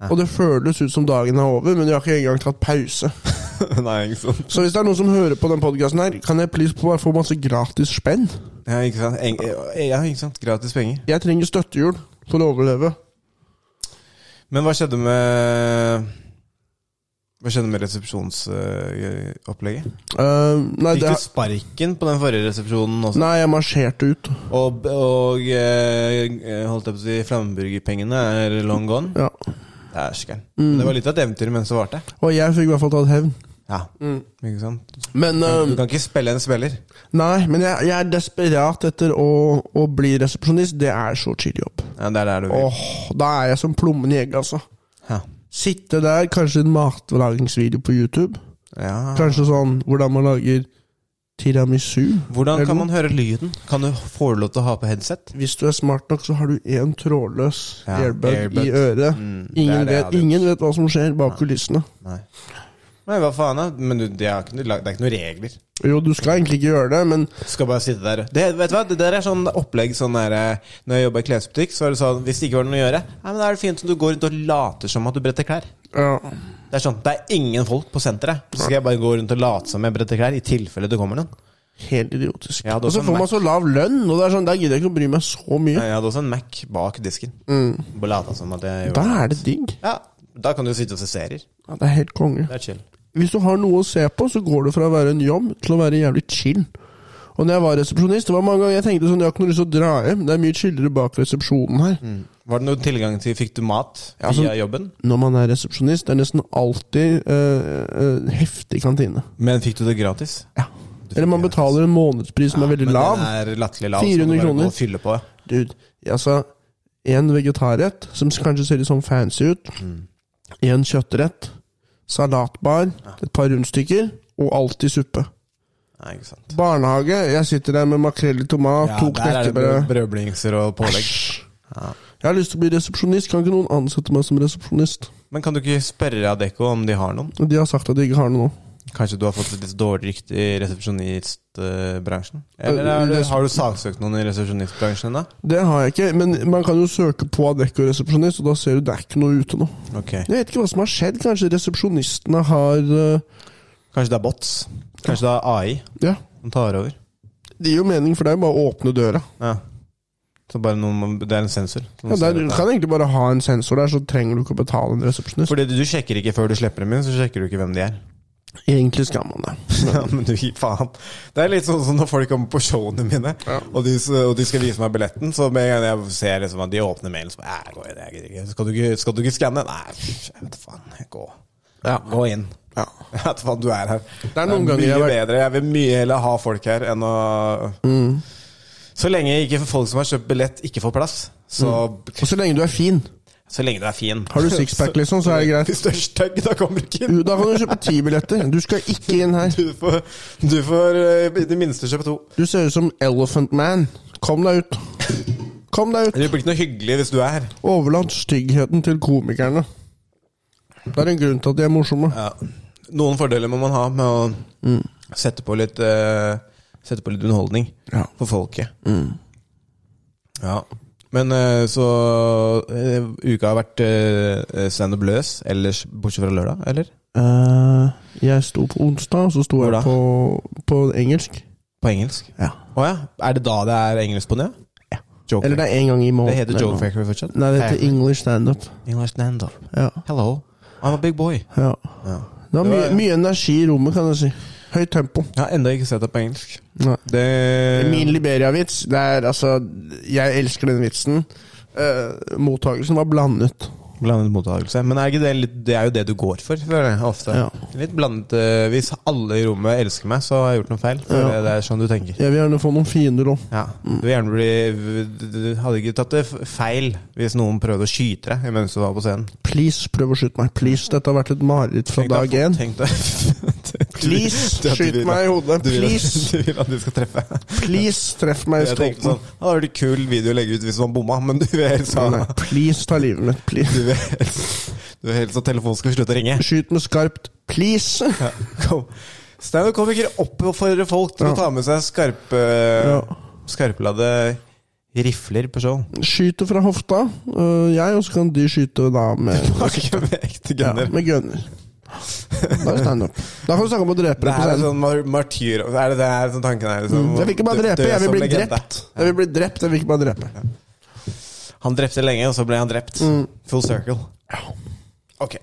Speaker 3: og det føles ut som dagen er over, men jeg har ikke engang tatt pause.
Speaker 2: Nei, ikke sant?
Speaker 3: Så hvis det er noen som hører på den podkasten her, kan jeg please bare få masse gratis spenn?
Speaker 2: Ja, ikke sant? Eng ja, ikke sant? Gratis penger.
Speaker 3: Jeg trenger støttehjul for å overleve.
Speaker 2: Men hva skjedde med Hva skjedde med resepsjonsopplegget?
Speaker 3: Eh, nei,
Speaker 2: Fikk
Speaker 3: det,
Speaker 2: du sparken på den forrige resepsjonen også?
Speaker 3: nei, jeg marsjerte ut.
Speaker 2: Og, og eh, holdt jeg på å si flammeburgerpengene er long gone?
Speaker 3: Ja.
Speaker 2: Dæsken.
Speaker 3: Mm.
Speaker 2: Det var litt av et eventyr mens det varte.
Speaker 3: Og jeg fikk i hvert fall tatt hevn.
Speaker 2: Ja.
Speaker 3: Mm.
Speaker 2: Ikke sant?
Speaker 3: Men,
Speaker 2: Du
Speaker 3: eh,
Speaker 2: kan ikke spille en spiller.
Speaker 3: nei, men jeg, jeg er desperat etter å, å bli resepsjonist. Det er så chill jobb.
Speaker 2: Ja, det er der du vil.
Speaker 3: Åh, Da er jeg som plommen i egget, altså.
Speaker 2: Ja.
Speaker 3: Sitte der, kanskje en matlagingsvideo på YouTube.
Speaker 2: Ja.
Speaker 3: Kanskje sånn hvordan man lager tiramisu.
Speaker 2: Hvordan
Speaker 3: Eller
Speaker 2: kan
Speaker 3: noe.
Speaker 2: man høre lyden? Kan du få lov til å ha på headset?
Speaker 3: Hvis du er smart nok, så har du én trådløs
Speaker 2: Ja,
Speaker 3: airbag
Speaker 2: airbud.
Speaker 3: i øret.
Speaker 2: Mm, det er det jeg
Speaker 3: ingen, vet,
Speaker 2: hadde gjort.
Speaker 3: ingen vet hva som skjer bak kulissene.
Speaker 2: Nei. Nei, hva faen? da? Men du, det, er ikke, noe- det er ikke noen regler.
Speaker 3: Jo, du skal egentlig ikke gjøre det, men
Speaker 2: Du skal bare sitte der. Det, vet du hva? det der er sånn opplegg sånn der, eh, Når jeg jobba i klesbutikk, så var det sånn Hvis det ikke var noe å gjøre, nei, men da er det fint om du går rundt og later som at du bretter klær.
Speaker 3: ja.
Speaker 2: Det er sånn, det er ingen folk på senteret. Så skal jeg bare gå rundt og late som jeg bretter klær, i tilfelle det kommer noen.
Speaker 3: Helt idiotisk.
Speaker 2: Jeg hadde
Speaker 3: og så
Speaker 2: også
Speaker 3: får
Speaker 2: en
Speaker 3: man så lav lønn, og det er sånn, der gidder jeg ikke å bry meg så mye.
Speaker 2: Jeg hadde også en Mac bak disken. Bare lata som at jeg
Speaker 3: Mm. Da
Speaker 2: gjorde
Speaker 3: er det digg.
Speaker 2: Ja, Da kan du jo sitte og se serier.
Speaker 3: Ja, det er helt konge.
Speaker 2: Det er chill.
Speaker 3: Hvis du har noe å se på, så går det fra å være en jobb til å være jævlig chill. Og når jeg var resepsjonist, det var mange ganger jeg tenkte sånn, jeg har ikke noe lyst til å dra hjem. Det er mye chillere bak resepsjonen her.
Speaker 2: Var det noen tilgang til Fikk du mat
Speaker 3: Ja, sånn-
Speaker 2: via jobben?
Speaker 3: Når man er resepsjonist, det er nesten alltid eh, eh, heftig kantine.
Speaker 2: Men fikk du det gratis?
Speaker 3: Ja. Eller man betaler en månedspris som er veldig
Speaker 2: Men
Speaker 3: lav.
Speaker 2: Den er latterlig lav.
Speaker 3: 400
Speaker 2: så må du bare
Speaker 3: kroner.
Speaker 2: gå og fylle på.
Speaker 3: Dude, altså En vegetarrett, som kanskje ser litt sånn fancy ut.
Speaker 2: Mm.
Speaker 3: En kjøttrett. Salatbar. Et par rundstykker. Og alltid suppe.
Speaker 2: Nei, ikke sant.
Speaker 3: Barnehage. Jeg sitter der med makrell i tomat,
Speaker 2: Ja,
Speaker 3: to
Speaker 2: der er det brød-
Speaker 3: knekkebrød.
Speaker 2: brødblingser og pålegg.
Speaker 3: Jeg har lyst til å bli resepsjonist. Kan ikke noen ansette meg som resepsjonist?
Speaker 2: Men kan du ikke spørre Adecco om de har noen?
Speaker 3: De har sagt at de ikke har noe nå.
Speaker 2: Kanskje du har fått et litt dårlig rykte i resepsjonistbransjen? Eller
Speaker 3: Øh,
Speaker 2: er det,
Speaker 3: resep-
Speaker 2: har du saksøkt noen i resepsjonistbransjen ennå?
Speaker 3: Det har jeg ikke, men man kan jo søke på Adecco resepsjonist, og da ser du det er ikke noe ute nå.
Speaker 2: Ok.
Speaker 3: Jeg vet ikke hva som har skjedd. Kanskje resepsjonistene har eh,
Speaker 2: Kanskje det er bots? Kanskje det er AI
Speaker 3: Ja,
Speaker 2: som tar over?
Speaker 3: det gir jo mening, for det er jo bare å åpne døra.
Speaker 2: Ja. Så bare noen, må- det er en sensor? som
Speaker 3: Ja,
Speaker 2: ser
Speaker 3: der, du
Speaker 2: dette.
Speaker 3: kan egentlig bare ha en sensor der, så trenger du ikke å betale en resepsjonist.
Speaker 2: Fordi du du sjekker ikke før du slipper dem inn, så sjekker du ikke hvem de er.
Speaker 3: Egentlig skal man det.
Speaker 2: Ja, men du gir faen. Det er litt sånn som når folk kommer på showene mine, og, de, s- og de skal vise meg billetten, så med en gang jeg ser liksom at de åpner mailen, så bare "Æ, gå inn, jeg gidder ikke. Skal du ikke, skal du ikke skanne? Nei, jeg vet faen. Gå. Gå inn.
Speaker 3: Ja.
Speaker 2: Jeg vet faen, du er her. Det
Speaker 3: er noen ganger
Speaker 2: mye
Speaker 3: jeg har vært- Mm.
Speaker 2: bedre. Jeg vil mye heller ha folk her enn å Så lenge ikke folk som har kjøpt billett, ikke får plass, så
Speaker 3: Og så lenge du er fin.
Speaker 2: Så lenge du er fin.
Speaker 3: Mm. Har du sixpack, liksom, så er det greit.
Speaker 2: Hvis du er stygg, da kommer du ikke inn.
Speaker 3: Jo, Da kan du kjøpe ti billetter. Du skal ikke inn her.
Speaker 2: Du får, du får eh, i det minste kjøpe to.
Speaker 3: Du ser ut som Elephant Man. Kom deg ut. Kom deg ut.
Speaker 2: Det blir ikke noe hyggelig hvis du er her.
Speaker 3: Overlat styggheten til komikerne. Det er en grunn til at de er morsomme.
Speaker 2: Noen fordeler må man ha med å sette, på litt, eh, sette på litt underholdning
Speaker 3: Ja.
Speaker 2: for folket. Ja. Men eh, så eh, Uka har vært eh, standup løs, ellers bortsett fra lørdag, eller?
Speaker 3: Eh, jeg sto på onsdag, og så sto
Speaker 2: Hvor da?
Speaker 3: jeg på, på engelsk.
Speaker 2: På engelsk.
Speaker 3: Ja.
Speaker 2: Å ja. Er det da det er engelsk på nytt?
Speaker 3: Ja.
Speaker 2: Joke
Speaker 3: Eller det er en gang i måneden.
Speaker 2: Det heter
Speaker 3: eller
Speaker 2: Joke
Speaker 3: noe.
Speaker 2: Factory fortsatt?
Speaker 3: Nei, det heter English standup.
Speaker 2: English stand-up.
Speaker 3: Ja.
Speaker 2: Hello, I'm a big boy.
Speaker 3: Ja. Det var mye, mye energi i rommet, kan jeg si. Høyt tempo.
Speaker 2: Jeg har ennå ikke sett det på engelsk.
Speaker 3: Nei.
Speaker 2: Mm. Det
Speaker 3: Min Liberia-vits, det er altså Jeg elsker den vitsen. Eh, mottagelsen var blandet.
Speaker 2: Blandet mottakelse. Men er ikke det, litt, det er jo det du går for, føler jeg ofte.
Speaker 3: Ja.
Speaker 2: Litt blandet eh, Hvis alle i rommet elsker meg, så har jeg gjort noe feil. For
Speaker 3: Ja. Mm.
Speaker 2: det, det er sånn du tenker.
Speaker 3: Jeg vil gjerne få noen fiender òg.
Speaker 2: Ja. Du, vil gjerne bli, du- du hadde ikke tatt det f- feil hvis noen prøvde å skyte deg mens du var på scenen.
Speaker 3: Please, prøv å skyte meg. Please, Dette har vært et mareritt fra
Speaker 2: Tenk deg-
Speaker 3: dag én.
Speaker 2: tenk deg- du-
Speaker 3: Please,
Speaker 2: du- at du
Speaker 3: skyt
Speaker 2: vil-
Speaker 3: meg i hodet.
Speaker 2: Du vil,
Speaker 3: Please.
Speaker 2: du vil at de skal treffe.
Speaker 3: Please, treff meg i
Speaker 2: Jeg tenkte
Speaker 3: stolpen.
Speaker 2: sånn, Det hadde vært en kul video å legge ut hvis man bomma, men du vil helst ha
Speaker 3: Nei, please, ta livet mitt. Please.
Speaker 2: Du vil helst, du vil helst at telefonen skal slutte å ringe.
Speaker 3: Skyt med skarpt. Please!
Speaker 2: Ja, kom. Standup-komikere oppfordrer folk til
Speaker 3: Ja.
Speaker 2: å ta med seg skarpe
Speaker 3: Ja.
Speaker 2: skarpladde rifler på show.
Speaker 3: Skyter fra hofta. Eh, jeg, og så kan de skyte da med
Speaker 2: Ikke med ekte
Speaker 3: Ja,
Speaker 2: gunner.
Speaker 3: med gunner. Da er det standup. Da kan du snakke om å drepe
Speaker 2: det
Speaker 3: deg på
Speaker 2: her er
Speaker 3: scenen. Mm.
Speaker 2: sånn mar martyr... Er det det her som tanken er? Liksom,
Speaker 3: Jeg vil ikke bare
Speaker 2: Dø-
Speaker 3: drepe,
Speaker 2: dø
Speaker 3: jeg vil
Speaker 2: som
Speaker 3: bli
Speaker 2: legende.
Speaker 3: drept. Jeg vil bli drept, jeg vil ikke bare drepe. Mm.
Speaker 2: Han drepte lenge, og så ble han drept. Full circle. Ok.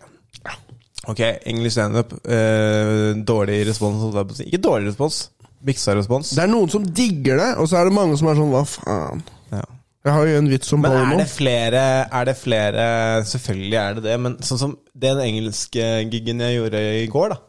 Speaker 2: Ok, English standup. Eh, dårlig respons. holdt jeg på å si. Ikke dårlig respons. Miksa respons.
Speaker 3: Det er noen som digger det, og så er det mange som er sånn hva faen.
Speaker 2: Ja.
Speaker 3: Jeg har jo en vits om
Speaker 2: Men er
Speaker 3: Bono.
Speaker 2: det flere Er det flere Selvfølgelig er det det, men sånn som den engelske giggen jeg gjorde i går, da.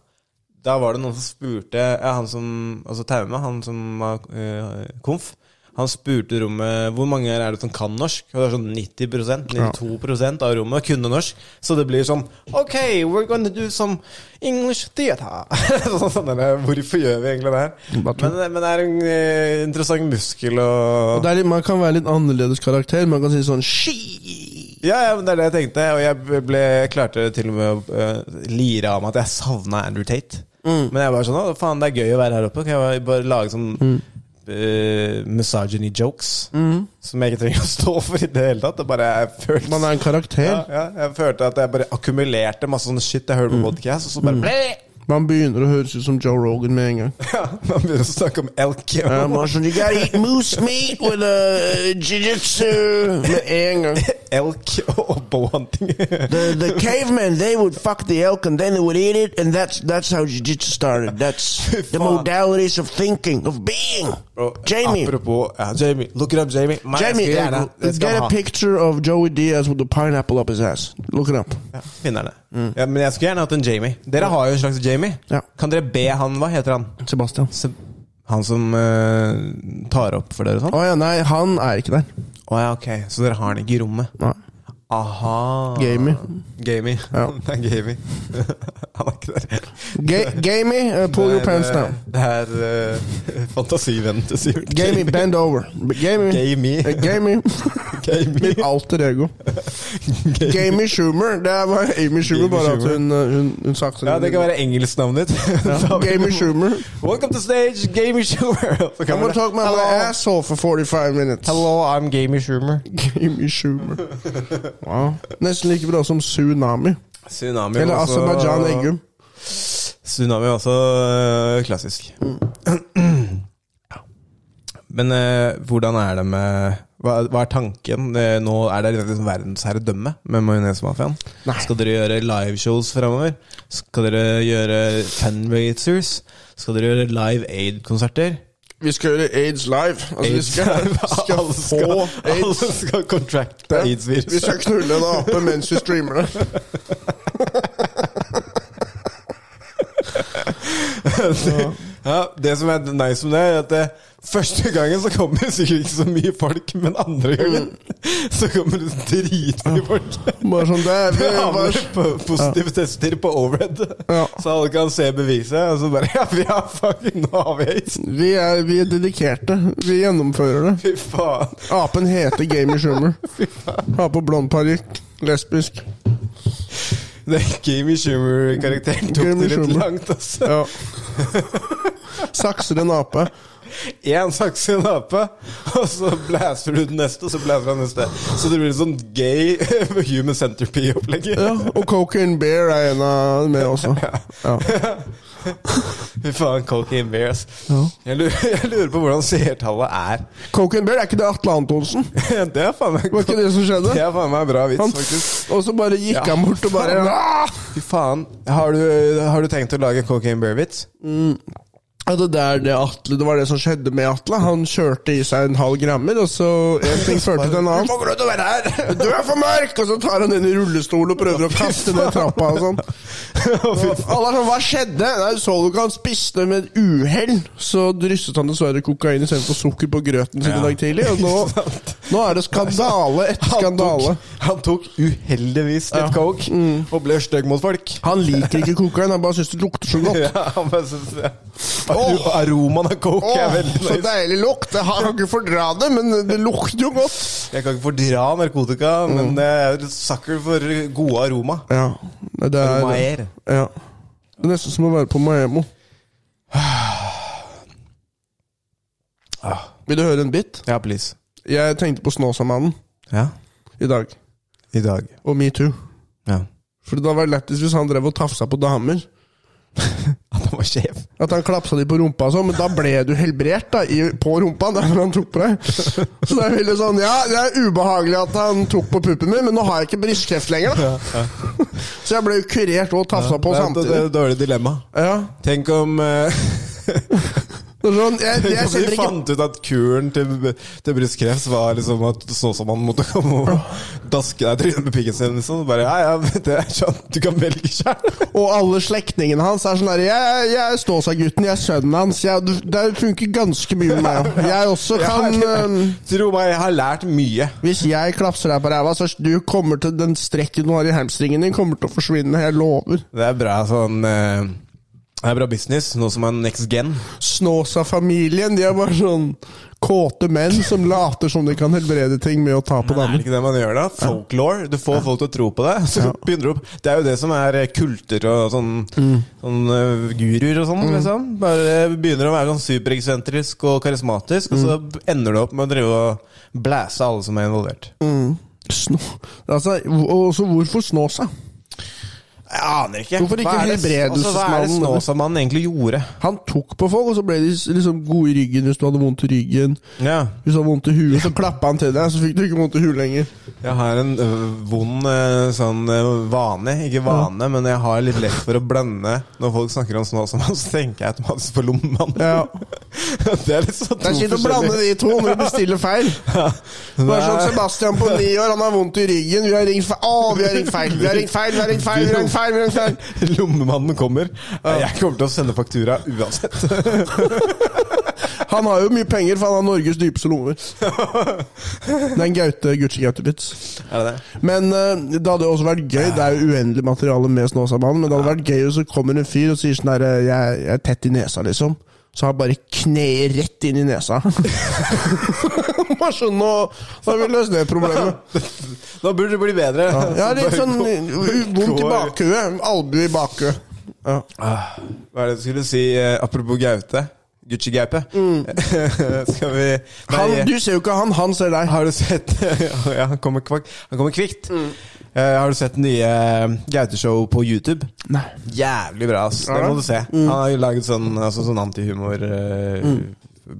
Speaker 2: Da var det noen som spurte ja, Han som Altså Taume, han som var eh, konf, han spurte rommet hvor mange er det som kan norsk. Og det var sånn 90 92 av rommet kunne norsk. Så det blir sånn OK, we're gonna do some English theater. sånn, sånn der, Hvorfor gjør vi egentlig det her?
Speaker 3: Bare tull.
Speaker 2: Men, men det er en eh, interessant muskel å
Speaker 3: Det er litt, man kan være litt annerledes karakter. Man kan si sånn Ski!
Speaker 2: Ja, ja, men det er det jeg tenkte. Og jeg ble, klarte til og med å øh, lire av meg at jeg savna Andrew Tate.
Speaker 3: Mm.
Speaker 2: Men jeg var sånn Å, faen, det er gøy å være her oppe. Kan jeg bare- bare lage sånn
Speaker 3: Mm.
Speaker 2: øh, misogyny jokes? Som jeg ikke trenger å stå for i det hele tatt. Det bare jeg følte sånn,
Speaker 3: Man er en
Speaker 2: ja,
Speaker 3: karakter.
Speaker 2: ja, jeg følte at jeg bare akkumulerte masse sånn shit jeg
Speaker 3: Mm.
Speaker 2: hørte på podcast, og så bare ble
Speaker 3: Man begynner å høres ut som Joe Rogan med en gang.
Speaker 2: ja, Man begynner å snakke om elk. og-
Speaker 3: Ja, man er sånn, you gotta eat moose meat with a jiu-jitsu med en gang.
Speaker 2: Elk og bohunting.
Speaker 5: The, the cavemen, they would fuck the elk and then they would eat it, and that's that's how jiu-jitsu started. That's the
Speaker 2: Fuck. Oh,
Speaker 5: modalities of thinking, of being.
Speaker 2: Og
Speaker 5: Jamie,
Speaker 2: Apropos ja, Jamie. Look it up, Jamie. Meg, jeg
Speaker 5: Jamie, uh,
Speaker 2: skal gjerne- jeg skal
Speaker 5: get
Speaker 2: ha-
Speaker 5: a picture of Joey Diaz with a pineapple up his ass. Look it up.
Speaker 2: Ja, finner det. Ja, men jeg skulle gjerne hatt en Jamie. Dere har jo en slags Jamie.
Speaker 3: Ja.
Speaker 2: Kan dere be han Hva heter han?
Speaker 3: Sebastian.
Speaker 2: Se- Han som eh, tar opp for dere og sånn?
Speaker 3: Å
Speaker 5: Oh,
Speaker 3: ja, nei, han
Speaker 5: ah,
Speaker 3: er ikke der.
Speaker 2: Å ja, ok. Så dere har han ikke i rommet?
Speaker 3: Nei.
Speaker 2: Aha.
Speaker 3: Gamey.
Speaker 2: Gamey.
Speaker 3: Ja.
Speaker 2: Det er gamey. han er ikke der.
Speaker 3: Ga- Gamey, uh, pull your
Speaker 2: Det er,
Speaker 3: pants
Speaker 2: eh,
Speaker 3: down.
Speaker 2: Det er eh, fantasivennen til Sivert.
Speaker 3: Gamey, bend over. B- Gamey.
Speaker 2: Gamey.
Speaker 5: Uh,
Speaker 3: Eh, Gamey.
Speaker 2: Gamey.
Speaker 3: Mitt alter ego. Gamey Schumer. Det er bare Amy Schumer,
Speaker 2: Gamey
Speaker 3: bare at
Speaker 2: Schumer.
Speaker 3: hun, uh, hun, hun sakser
Speaker 2: Ja, det kan være engelsknavnet ditt. Så har vi-
Speaker 3: Gamey Schumer.
Speaker 2: Welcome to stage, Gamey Schumer. Så kan
Speaker 3: I'm gonna
Speaker 2: vi-
Speaker 3: talk my
Speaker 2: Hello.
Speaker 3: asshole for 45 minutes.
Speaker 2: Hello, I'm Gamey Schumer.
Speaker 3: Gamey Schumer. Wow. Nesten like bra som Tsunami.
Speaker 2: Tsunami
Speaker 3: Eller
Speaker 2: var også-
Speaker 3: Aserbajdsjan Eggum.
Speaker 2: Tsunami er også øh, klassisk. Men øh, hvordan er det med Hva, hva er tanken? Eh, nå er det liksom verdensherredømme med Majonesmafiaen. Skal dere gjøre liveshows framover? Skal dere gjøre fundraisers? Skal dere gjøre Live Aid-konserter?
Speaker 3: Vi skal gjøre AIDS live. Altså, vi skal, skal
Speaker 2: alle, skal,
Speaker 3: få
Speaker 2: alle
Speaker 3: AIDS.
Speaker 2: skal contracte
Speaker 3: Ja. Vi
Speaker 2: aids-viruset.
Speaker 3: skal knulle en ape mens vi streamer det.
Speaker 2: Ja, det som er nice med det, er at det, første gangen så kommer det sikkert ikke så mye folk, men andre gangen så kommer det dritmye folk.
Speaker 3: Bare sånn der. Vi,
Speaker 2: Det havner
Speaker 3: bare,
Speaker 2: på positive tester på overhead,
Speaker 3: Ja.
Speaker 2: så alle kan se beviset. Og så bare Ja, vi har fucking nå har vi aids!
Speaker 3: vi, er, vi er dedikerte. Vi gjennomfører det.
Speaker 2: Fy faen.
Speaker 3: Apen heter Gamey Schumer. Har på blond parykk. Lesbisk.
Speaker 2: Det er Gamey Schumer-karakteren tok
Speaker 3: Gamey
Speaker 2: det litt
Speaker 3: Schumer.
Speaker 2: langt, altså.
Speaker 3: Ja. Sakser en ape.
Speaker 2: én saks i en ape, og så blæser du den neste, og så blæser han neste. Så det blir sånn gay human centerpie-opplegget.
Speaker 3: Ja, og Cocaine Bear er en av med også. Ja.
Speaker 2: Fy faen, cocaine bears. Jeg, lurer, jeg lurer på hvordan seertallet er.
Speaker 3: Cocaine Bear, er ikke det Atle Antonsen?
Speaker 2: Det er faen meg
Speaker 3: Var ikke det som skjedde?
Speaker 2: Det er faen meg en bra vits,
Speaker 3: Han,
Speaker 2: faktisk.
Speaker 3: og så bare gikk
Speaker 2: Ja.
Speaker 3: han bort og bare "Ah!"
Speaker 2: Faen. Fy faen. Har du, har du tenkt å lage en cocaine bear-vits?
Speaker 3: Ja, det der det Atle Det var det som skjedde med Atle. Han kjørte i seg en halv grammer, og så en ting førte til en annen.
Speaker 2: Du må slutte å være her!
Speaker 3: Du er for mørk! Og så tar han den i rullestol og prøver å kaste ned trappa og sånn. Alle er sånn, hva skjedde? Nei, så du ikke han spiste med et uhell? Så drysset han dessverre kokain istedenfor sukker på grøten sin i dag tidlig. Og nå, nå er det skandale
Speaker 2: Han
Speaker 3: etter
Speaker 2: tok,
Speaker 3: skandale. Mm.
Speaker 2: han tok uheldigvis litt coke og ble stygg mot folk.
Speaker 3: Han liker ikke kokain, han bare syns det lukter så godt.
Speaker 2: Ja, han bare synes det. Aro- Aromaen av coke
Speaker 3: Åh,
Speaker 2: er veldig
Speaker 3: så
Speaker 2: nice.
Speaker 3: deilig lukt! Jeg kan ikke fordra det, men det lukter jo godt.
Speaker 2: Jeg kan ikke fordra narkotika,
Speaker 3: Mm.
Speaker 2: men jeg er et sucker for gode aroma.
Speaker 3: Ja, det er
Speaker 2: Romaer.
Speaker 3: Ja. Det er nesten som å være på Maemo. Vil du høre en bit?
Speaker 2: Ja, please.
Speaker 3: Jeg tenkte på Snåsamannen
Speaker 2: Ja.
Speaker 3: i dag,
Speaker 2: I dag.
Speaker 3: og metoo.
Speaker 2: Ja.
Speaker 3: For det hadde vært lettest hvis han drev og tafsa på damer.
Speaker 2: på kjeven.
Speaker 3: At han klapsa de på rumpa og sånn, men da ble du helbrert da, i, på rumpa. Derfor han tok på deg. Så det er veldig sånn Ja, det er ubehagelig at han tok på puppen min, men nå har jeg ikke brystkreft lenger, da. Så jeg ble jo kurert og tafsa på
Speaker 2: Det er et- Det
Speaker 3: samtidig.
Speaker 2: er et dårlig dilemma.
Speaker 3: Ja.
Speaker 2: Tenk om eh,
Speaker 3: Det er sånn, jeg,
Speaker 2: Tenk
Speaker 3: jeg
Speaker 2: om
Speaker 3: kjenner
Speaker 2: de
Speaker 3: ikke
Speaker 2: fant ut at kuren til, til brystkreft var liksom at det så ut som man måtte komme og daske deg i trynet med pikken sin. Liksom. Bare, ja, ja, det er sånn, du kan velge sjøl.
Speaker 3: Og alle slektningene hans er sånn der Jeg, jeg er Ståsa-gutten, jeg er sønnen hans. Jeg, det funker ganske mye med meg òg. Jeg også kan øhm,
Speaker 2: Tro meg, jeg har lært mye.
Speaker 3: Hvis jeg klapser deg på ræva, så du kommer til den strekken du har i hamstringen din, kommer til å forsvinne. Jeg lover.
Speaker 2: Det er bra sånn eh, Det er bra business, nå som er next gen.
Speaker 3: Snåsa-familien, de er bare sånn kåte menn som later som de kan helbrede ting med å ta på
Speaker 2: Er det
Speaker 3: damer.
Speaker 2: ikke det man gjør da? Folklore. Du får folk til å tro på det. Så begynner du opp. Det er jo det som er eh, kulter og sånn,
Speaker 3: Mm.
Speaker 2: sånn eh, guruer og sånn. Liksom. Bare begynner å være sånn supereksentrisk og karismatisk, og
Speaker 3: Mm.
Speaker 2: så ender du opp med å drive og blæse alle som er involvert.
Speaker 3: Mm. Snå... Altså, og så hvorfor Snåsa?
Speaker 2: Jeg aner ikke.
Speaker 3: Hvorfor ikke
Speaker 2: Hva er det-
Speaker 3: helbredelsesmannen?
Speaker 2: Altså, hva er det Snåsamannen egentlig gjorde?
Speaker 3: Han tok på folk, og så ble de liksom gode i ryggen hvis du hadde vondt i ryggen.
Speaker 2: Ja.
Speaker 3: Hvis du hadde vondt i huet, så klappa han til deg, så fikk du ikke vondt i huet lenger.
Speaker 2: Jeg har en ø, vond ø, sånn ø, vane. Ikke vane, men jeg har litt lett for å blande. Når folk snakker om Snåsamannen, så tenker jeg automatisk på Lommemannen.
Speaker 3: Ja.
Speaker 2: det er litt sånn
Speaker 3: Det er kjipt å blande de to når du bestiller feil. Bare sånn Sebastian på ni år, han har vondt i ryggen. Vi har ringt feil. Å, vi har ringt feil! Vi har ringt feil, vi har ringt feil! vi har ringt feil, vi har ringt feil.
Speaker 2: Lommemannen kommer. Jeg kommer til å sende faktura uansett.
Speaker 3: Han har jo mye penger, for han har Norges dypeste lommer. Det er en Gaute Gucci-Gaute-vits.
Speaker 2: Er det det?
Speaker 3: Men eh, det hadde jo også vært gøy. Det er jo uendelig materiale med Snåsamannen, men det hadde vært gøy hvis det kommer en fyr og sier sånn herre jeg, jeg er tett i nesa, liksom. Så har han bare kneet rett inn i nesa. Bare sånn, nå Da har vi løst det problemet.
Speaker 2: Nå burde det bli bedre.
Speaker 3: Ja, litt sånn
Speaker 2: Gå-
Speaker 3: vondt i
Speaker 2: går-
Speaker 3: bakhuet. Albue i bakhuet. Ja.
Speaker 2: Hva er det du skulle si? eh, Apropos Gaute. Gucci-Gaupe. Skal vi
Speaker 3: Mm. Han,
Speaker 2: Nei,
Speaker 3: du ser jo ikke han, han ser deg.
Speaker 2: Har du sett Ja, han kommer, kvakk. han kommer kvikt. Eh, har du sett nye eh, Gaute-show på YouTube?
Speaker 3: Nei.
Speaker 2: Jævlig bra, ass. Det
Speaker 3: Ja.
Speaker 2: må du se. Han har jo laget sånn, altså, sånn antihumor eh,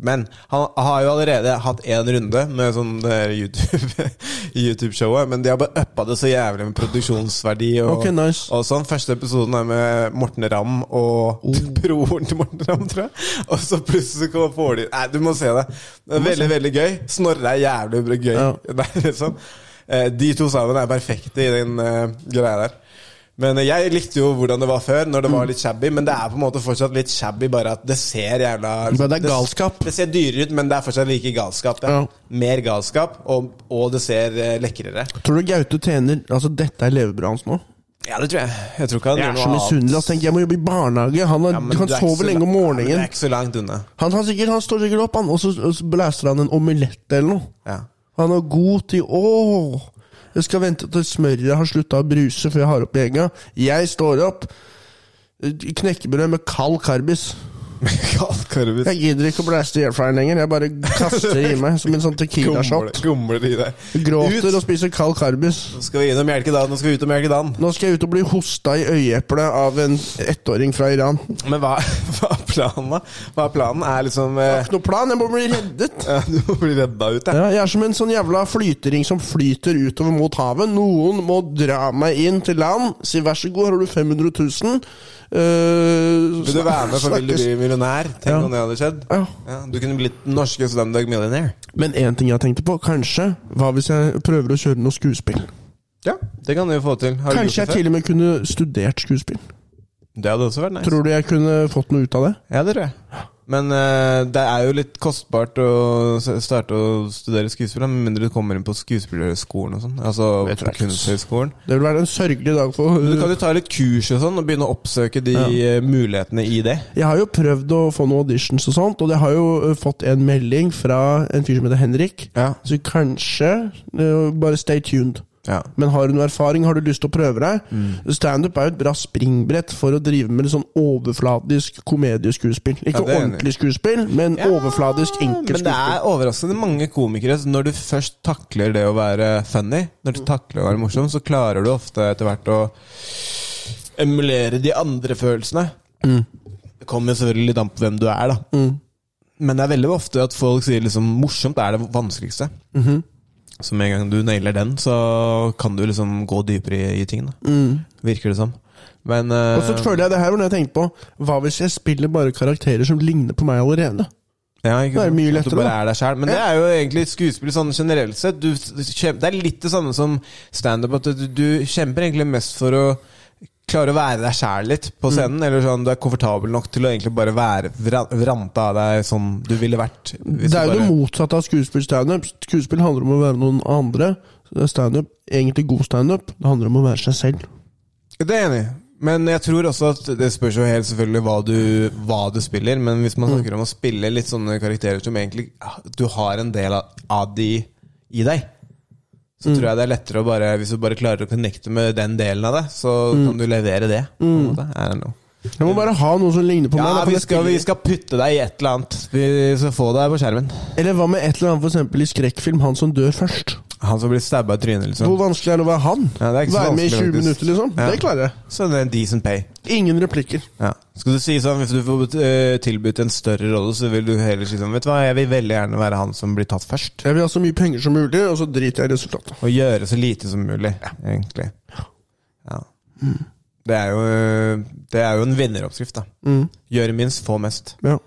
Speaker 2: Men han har jo allerede hatt én runde med sånn det her YouTube- YouTube-showet. men de har bare uppa det så jævlig med produksjonsverdi og,
Speaker 3: Ok, nice.
Speaker 2: og sånn. Første episoden er med Morten Ramm og
Speaker 3: Oh.
Speaker 2: broren til Morten Ramm, tror jeg. Og så plutselig så kommer- får de Nei, du må se det. Det er veldig, veldig gøy. Snorre er jævlig bra gøy.
Speaker 3: Ja.
Speaker 2: Det er liksom eh, De to sammen er perfekte i den eh, greia der. Men eh, jeg likte jo hvordan det var før, når
Speaker 3: Mm.
Speaker 2: det var litt shabby. Men det er på en måte fortsatt litt shabby, bare at det ser jævla
Speaker 3: Men det er galskap.
Speaker 2: Det, ser dyrere ut, men det er fortsatt like galskap. Ja.
Speaker 3: Ja.
Speaker 2: Mer galskap, og, og det ser eh, lekrere.
Speaker 3: Tror du Gaute tjener Altså, dette er levebrødet hans nå?
Speaker 2: Ja, det tror jeg. Jeg tror ikke han
Speaker 3: Jeg er
Speaker 2: gjør
Speaker 3: så
Speaker 2: noe
Speaker 3: misunnelig. ass. Tenk, jeg må jobbe i barnehage. Han, har,
Speaker 2: Ja, men
Speaker 3: han
Speaker 2: du er ikke så
Speaker 3: sover lenge
Speaker 2: la-
Speaker 3: om
Speaker 2: Ja, men Du
Speaker 3: morgenen.
Speaker 2: er ikke så langt unna.
Speaker 3: Han, har sikkert, han står sikkert opp, han, og så, og så blæser han en omelett eller noe.
Speaker 2: Ja.
Speaker 3: Han har god tid. Åh! Jeg skal vente til smøret har slutta å bruse før jeg har opp egga. Jeg står opp. eh, Knekkebrød med kald karbis.
Speaker 2: Kaldkarvis.
Speaker 3: Jeg gidder ikke å blæste i airfryeren lenger. Jeg bare kaster det i meg som en sånn
Speaker 2: Gomler-
Speaker 3: Tequila-shot.
Speaker 2: Gomler i deg.
Speaker 3: Gråter
Speaker 2: Ut.
Speaker 3: og spiser kald karbis.
Speaker 2: Nå skal vi inn og melke dagen, nå skal vi ut og melke dagen.
Speaker 3: Nå skal jeg ut og bli hosta i øyeeplet av en ettåring fra Iran. Det
Speaker 2: Men hva, hva er planen, da? Hva er planen? Er liksom
Speaker 3: er
Speaker 2: eh,
Speaker 3: Ikke noe plan, jeg må bli reddet.
Speaker 2: ja, Du må bli redda ut,
Speaker 3: Ja, jeg er som en sånn jævla flytering som flyter utover mot havet. Noen må dra meg inn til land, si vær så god, har du 500 000? Eh,
Speaker 2: Vil du være med for Vil du
Speaker 3: snakkes.
Speaker 2: bli millionær? Tenk
Speaker 3: Ja.
Speaker 2: om det hadde skjedd.
Speaker 3: Ja.
Speaker 2: du kunne blitt den norske Slumdog Millionaire.
Speaker 3: Men én ting jeg tenkte på, kanskje Hva hvis jeg prøver å kjøre noe skuespill?
Speaker 2: Ja, det kan du jo få til. Har du
Speaker 3: Kanskje
Speaker 2: gjort
Speaker 3: jeg
Speaker 2: det
Speaker 3: til og med kunne studert skuespill?
Speaker 2: før? Det hadde også vært nice.
Speaker 3: Tror du jeg kunne fått noe ut av det?
Speaker 2: Ja, det tror jeg. Men eh, det er jo litt kostbart å s- starte å studere skuespill, da, med mindre du kommer inn på skuespillerskolen og sånn. Altså
Speaker 3: Det tror jeg
Speaker 2: på
Speaker 3: ikke, ass.
Speaker 2: Kunsthøgskolen.
Speaker 3: Det ville vært en sørgelig dag for
Speaker 2: Men Du kan jo ta litt kurs og sånn, og begynne å oppsøke de eh, mulighetene i det.
Speaker 3: Jeg har jo prøvd å få noen auditions og sånt, og jeg har jo eh, fått en melding fra en fyr som heter Henrik.
Speaker 2: Ja.
Speaker 3: Så kanskje eh, Bare stay tuned.
Speaker 2: Ja. Mm.
Speaker 3: Men har du noe erfaring, har du lyst til å prøve deg? Standup er jo et bra springbrett for å drive med litt sånn overfladisk komedieskuespill.
Speaker 2: Ja,
Speaker 3: Ikke
Speaker 2: det er jeg enig i.
Speaker 3: ordentlig skuespill, men
Speaker 2: Ja,
Speaker 3: overfladisk enkelt
Speaker 2: Men det
Speaker 3: skuespill.
Speaker 2: er overraskende mange komikere så Når du først takler det å være funny, når
Speaker 3: Mm.
Speaker 2: du takler å være morsom, så klarer
Speaker 3: Mm.
Speaker 2: du ofte etter hvert å emulere de andre følelsene. Det kommer selvfølgelig litt an på hvem du er, da. Men det er veldig ofte at folk sier liksom morsomt er det vanskeligste.
Speaker 3: Mm-hmm.
Speaker 2: Så med en gang du nailer den, så kan du liksom gå dypere i, i tingene. Virker det som. Men eh,
Speaker 3: Mm. Og så føler jeg det her var når jeg tenkte på Hva hvis jeg spiller bare karakterer som ligner på meg allerede?
Speaker 2: Ja, ikke
Speaker 3: Da er det
Speaker 2: sant?
Speaker 3: mye
Speaker 2: At
Speaker 3: lettere,
Speaker 2: Du bare
Speaker 3: da.
Speaker 2: er deg selv. Men det er jo egentlig skuespill sånn generelt sett. Du, kjem- det er litt det samme som standup, at du, du kjemper egentlig mest for å klare å være deg sjæl litt på
Speaker 3: Mm.
Speaker 2: scenen. Eller sånn du er komfortabel nok til å egentlig bare være vra- vrante av deg som du ville vært. hvis
Speaker 3: Det er
Speaker 2: du
Speaker 3: jo det
Speaker 2: bare-
Speaker 3: motsatte av skuespill standup. Skuespill handler om å være noen andre. Standup, egentlig god standup, det handler om å være seg selv.
Speaker 2: Det er jeg enig. i. Men jeg tror også at det spørs jo helt selvfølgelig hva du, hva du spiller. Men hvis man snakker om å spille litt sånne karakterer som egentlig ah, du har en del av, av de i deg, så tror jeg det er lettere å bare Hvis du bare klarer å connecte med den delen av det, så kan du levere det. På en måte. I don't know.
Speaker 3: Jeg må bare ha noe som ligner på meg.
Speaker 2: Mm. Ja,
Speaker 3: da, for
Speaker 2: vi
Speaker 3: jeg
Speaker 2: skal,
Speaker 3: spiller-
Speaker 2: vi skal putte deg i et eller annet. Vi skal få deg på skjermen.
Speaker 3: Eller hva med et eller annet for eksempel i skrekkfilm? Han som dør først.
Speaker 2: Han som blir stabba i trynet,
Speaker 3: Hvor
Speaker 2: liksom.
Speaker 3: vanskelig er det å være han?
Speaker 2: Ja, det er ikke så
Speaker 3: være med i
Speaker 2: vanskelig,
Speaker 3: 20
Speaker 2: faktisk.
Speaker 3: minutter, liksom?
Speaker 2: Ja.
Speaker 3: Det klarer jeg.
Speaker 2: Så det er en decent pay.
Speaker 3: Ingen replikker.
Speaker 2: Ja. Skal du si sånn, Hvis du får eh, tilbudt en større rolle, så vil du heller si sånn Vet du hva, jeg vil veldig gjerne være han som blir tatt først.
Speaker 3: Jeg vil ha så mye penger som mulig, og så driter jeg i resultatet.
Speaker 2: Og gjøre så lite som mulig, egentlig. Ja. Det, er jo, det er jo en vinneroppskrift, da. Gjøre minst, få mest.
Speaker 3: Ja.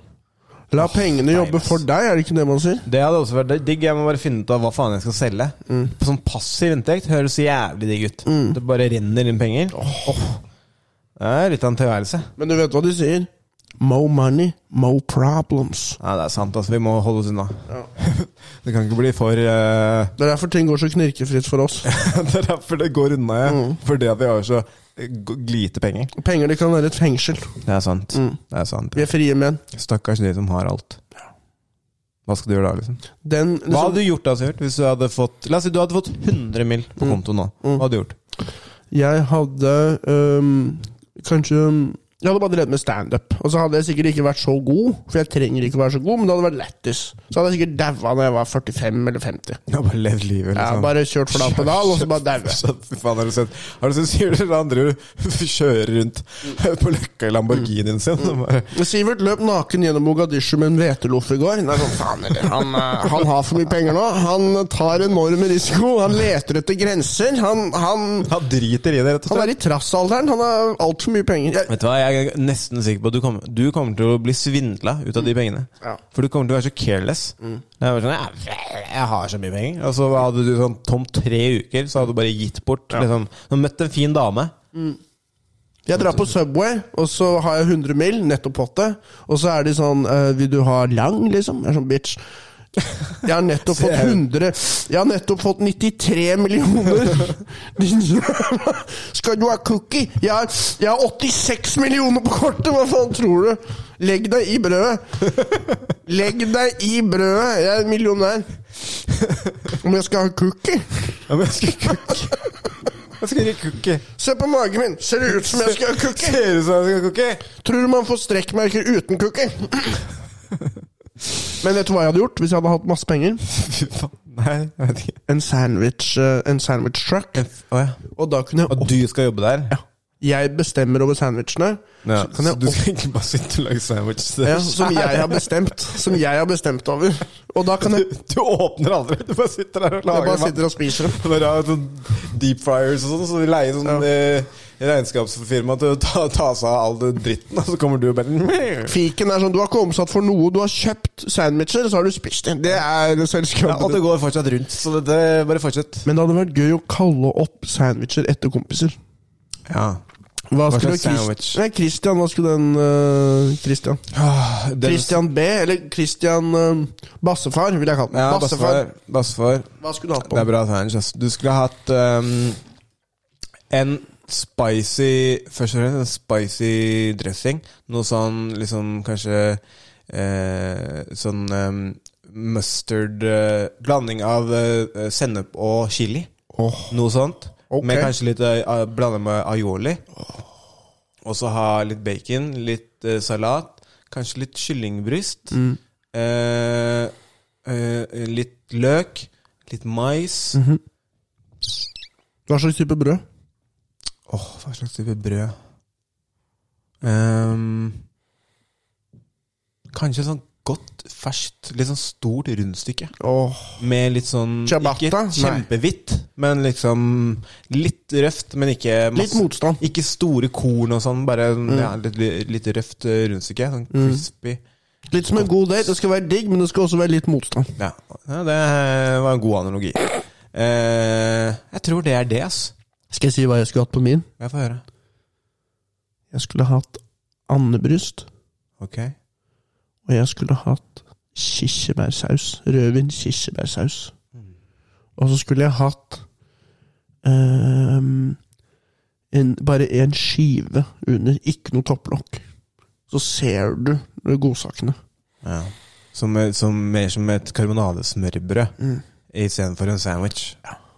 Speaker 3: La pengene jobbe
Speaker 2: ass.
Speaker 3: for deg, er det ikke det man sier?
Speaker 2: Det hadde også vært digg. Jeg må bare finne ut av hva faen jeg skal selge. Sånn passiv inntekt høres jævlig digg ut. Det bare renner inn penger. Det er litt av en tilværelse.
Speaker 3: Men du vet hva de sier? Mo money, mo problems.
Speaker 2: Nei, det er sant, altså. Vi må holde oss unna. det kan ikke bli for eh,
Speaker 3: Det er derfor ting går så knirkefritt for oss.
Speaker 2: Det er derfor det går unna, ja. Fordi at vi har så eh, g- lite penger.
Speaker 3: Penger det kan være et fengsel.
Speaker 2: Det er sant. Det er sant.
Speaker 3: Vi er frie menn.
Speaker 2: Stakkars de som har alt. Hva skal du gjøre da, liksom?
Speaker 3: Den,
Speaker 2: Hva hadde du gjort da, Sivert? Hvis du hadde fått La oss si du hadde fått 100 mill. på konto nå. Hva hadde du gjort?
Speaker 3: Jeg hadde øhm, kanskje øhm, Jeg hadde bare drevet med standup. Og så hadde jeg sikkert ikke vært så god, for jeg trenger ikke å være så god, men det hadde vært lættis. Så hadde jeg sikkert daua når jeg var 45 eller 50.
Speaker 2: Jeg har bare levd livet, liksom.
Speaker 3: Jeg har bare kjørt flat pedal, og så bare daue.
Speaker 2: Så, fy faen, har du sett Har du sett Sivert eller andre kjører rundt på Løkka i Lamborghinien sin? og Bare,
Speaker 3: Sivert løp naken gjennom Mogadishu med en hveteloff i går. Nei, sånn, faen eller, han, eh, han har for mye penger nå. Han tar enorm risiko. Han leter etter grenser. Han, han,
Speaker 2: han driter i det, rett og
Speaker 3: han
Speaker 2: slett.
Speaker 3: er i trassalderen. Han har altfor mye penger. Jeg,
Speaker 2: Vet du hva, Jeg er nesten sikker på at du kommer, du kommer til å bli svindla ut av de pengene.
Speaker 3: Mm. Ja. Mm.
Speaker 2: For du kommer til å være så careless. Det er bare sånn, jeg, jeg har så mye penger. Og så hadde du sånn tom tre uker, så hadde du bare gitt bort. Liksom. Du har møtt en fin dame.
Speaker 3: Jeg drar på Subway, og så har jeg 100 mil, nettopp fått det. Og så er de sånn eh, Vil du ha lang, liksom? Jeg er sånn bitch. Jeg har nettopp fått 100 Jeg har nettopp fått 93 millioner! Din jævla Skal du ha cookie? Jeg har, jeg har 86 millioner på kortet! Hva faen tror du? Legg deg i brødet! Legg deg i brødet! Jeg er millionær. Om jeg skal ha cookie?
Speaker 2: Ja, men jeg skal ikke kukke. Jeg skal ikke kukke.
Speaker 3: Se på magen min! Ser det ut som jeg skal ha cookie?
Speaker 2: Ser ut som jeg skal kukke.
Speaker 3: Tror du man får strekkmerker uten cookie? Men vet du hva jeg hadde gjort hvis jeg hadde hatt masse penger?
Speaker 2: Fy faen. Nei, jeg vet ikke.
Speaker 3: En sandwich, eh, en sandwich truck.
Speaker 2: En f- Å ja.
Speaker 3: Og da kunne jeg
Speaker 2: Og du skal jobbe der? Ja.
Speaker 3: Jeg bestemmer over sandwichene. Så kan
Speaker 2: så du
Speaker 3: jeg opp,
Speaker 2: skal egentlig bare sitte og lage sandwich?
Speaker 3: ja, som jeg har bestemt. Som jeg har bestemt over. Og da kan jeg
Speaker 2: Du, du åpner aldri, du bare sitter der og
Speaker 3: Jeg
Speaker 2: lager
Speaker 3: bare
Speaker 2: mat.
Speaker 3: sitter og spiser dem.
Speaker 2: Når du har sånn deep fryers og sånn, så de leier sånn eh, regnskapsfirma til å ta, ta seg av all den dritten, og så kommer du og bare
Speaker 3: Fiken er sånn Du har ikke omsatt for noe. Du har kjøpt sandwicher, så har du spist dem. Det er
Speaker 2: ja, Og
Speaker 3: selskapet.
Speaker 2: det går fortsatt rundt, så det, det bare fortsett.
Speaker 3: Men det hadde vært gøy å kalle opp sandwicher etter kompiser.
Speaker 2: Ja.
Speaker 3: Hva
Speaker 2: Hva
Speaker 3: skulle
Speaker 2: slags
Speaker 3: Christ-
Speaker 2: sandwich?
Speaker 3: Nei, Christian, hva skulle den eh, Christian?
Speaker 2: Ah,
Speaker 3: Christian B, eller Christian eh, Bassefar, vil jeg kalle den.
Speaker 2: ja,
Speaker 3: Bassefar.
Speaker 2: Bassefar. Bassefar.
Speaker 3: Hva skulle du hatt
Speaker 2: Det
Speaker 3: på?
Speaker 2: er bra sandwich, ass. Du skulle ha hatt ehm, en spicy Først og fremst en spicy dressing. Noe sånn liksom kanskje eh, Sånn ehm, mustard eh, Blanding av eh, sennep og chili. Noe sånt.
Speaker 3: Ok.
Speaker 2: Med kanskje litt uh, blanda med aioli. Og så ha litt bacon, litt eh, salat, kanskje litt kyllingbryst.
Speaker 3: Mm.
Speaker 2: Eh, eh, litt løk, litt mais. Åh,
Speaker 3: Mhm. Hva slags type brød?
Speaker 2: Hva slags type brød? Ehm, Kanskje sånn godt, ferskt, litt sånn stort rundstykke.
Speaker 3: Åh,
Speaker 2: Med litt sånn
Speaker 3: Ciabatta?
Speaker 2: Ikke
Speaker 3: Nei.
Speaker 2: kjempehvitt, men liksom litt røft, men ikke
Speaker 3: Litt motstand.
Speaker 2: Ikke store korn og sånn, bare
Speaker 3: Mm.
Speaker 2: ja, litt, litt røft eh, rundstykke. Sånn crispy.
Speaker 3: Litt som en god date. Det skal være digg, men det skal også være litt motstand.
Speaker 2: Ja. ja, det var en god analogi. Eh, jeg tror det er det, ass.
Speaker 3: Skal jeg si hva jeg skulle hatt på min?
Speaker 2: Jeg får høre.
Speaker 3: Jeg skulle hatt andebryst,
Speaker 2: Ok.
Speaker 3: og jeg skulle hatt kirsebærsaus. Rødvin kirsebærsaus. Og så skulle jeg hatt ehm, en, bare en skive under, ikke noe topplokk. Så ser du godsakene.
Speaker 2: Ja. Som, eh, som, mer som et karbonadesmørbrød
Speaker 3: Mm.
Speaker 2: istedenfor en sandwich.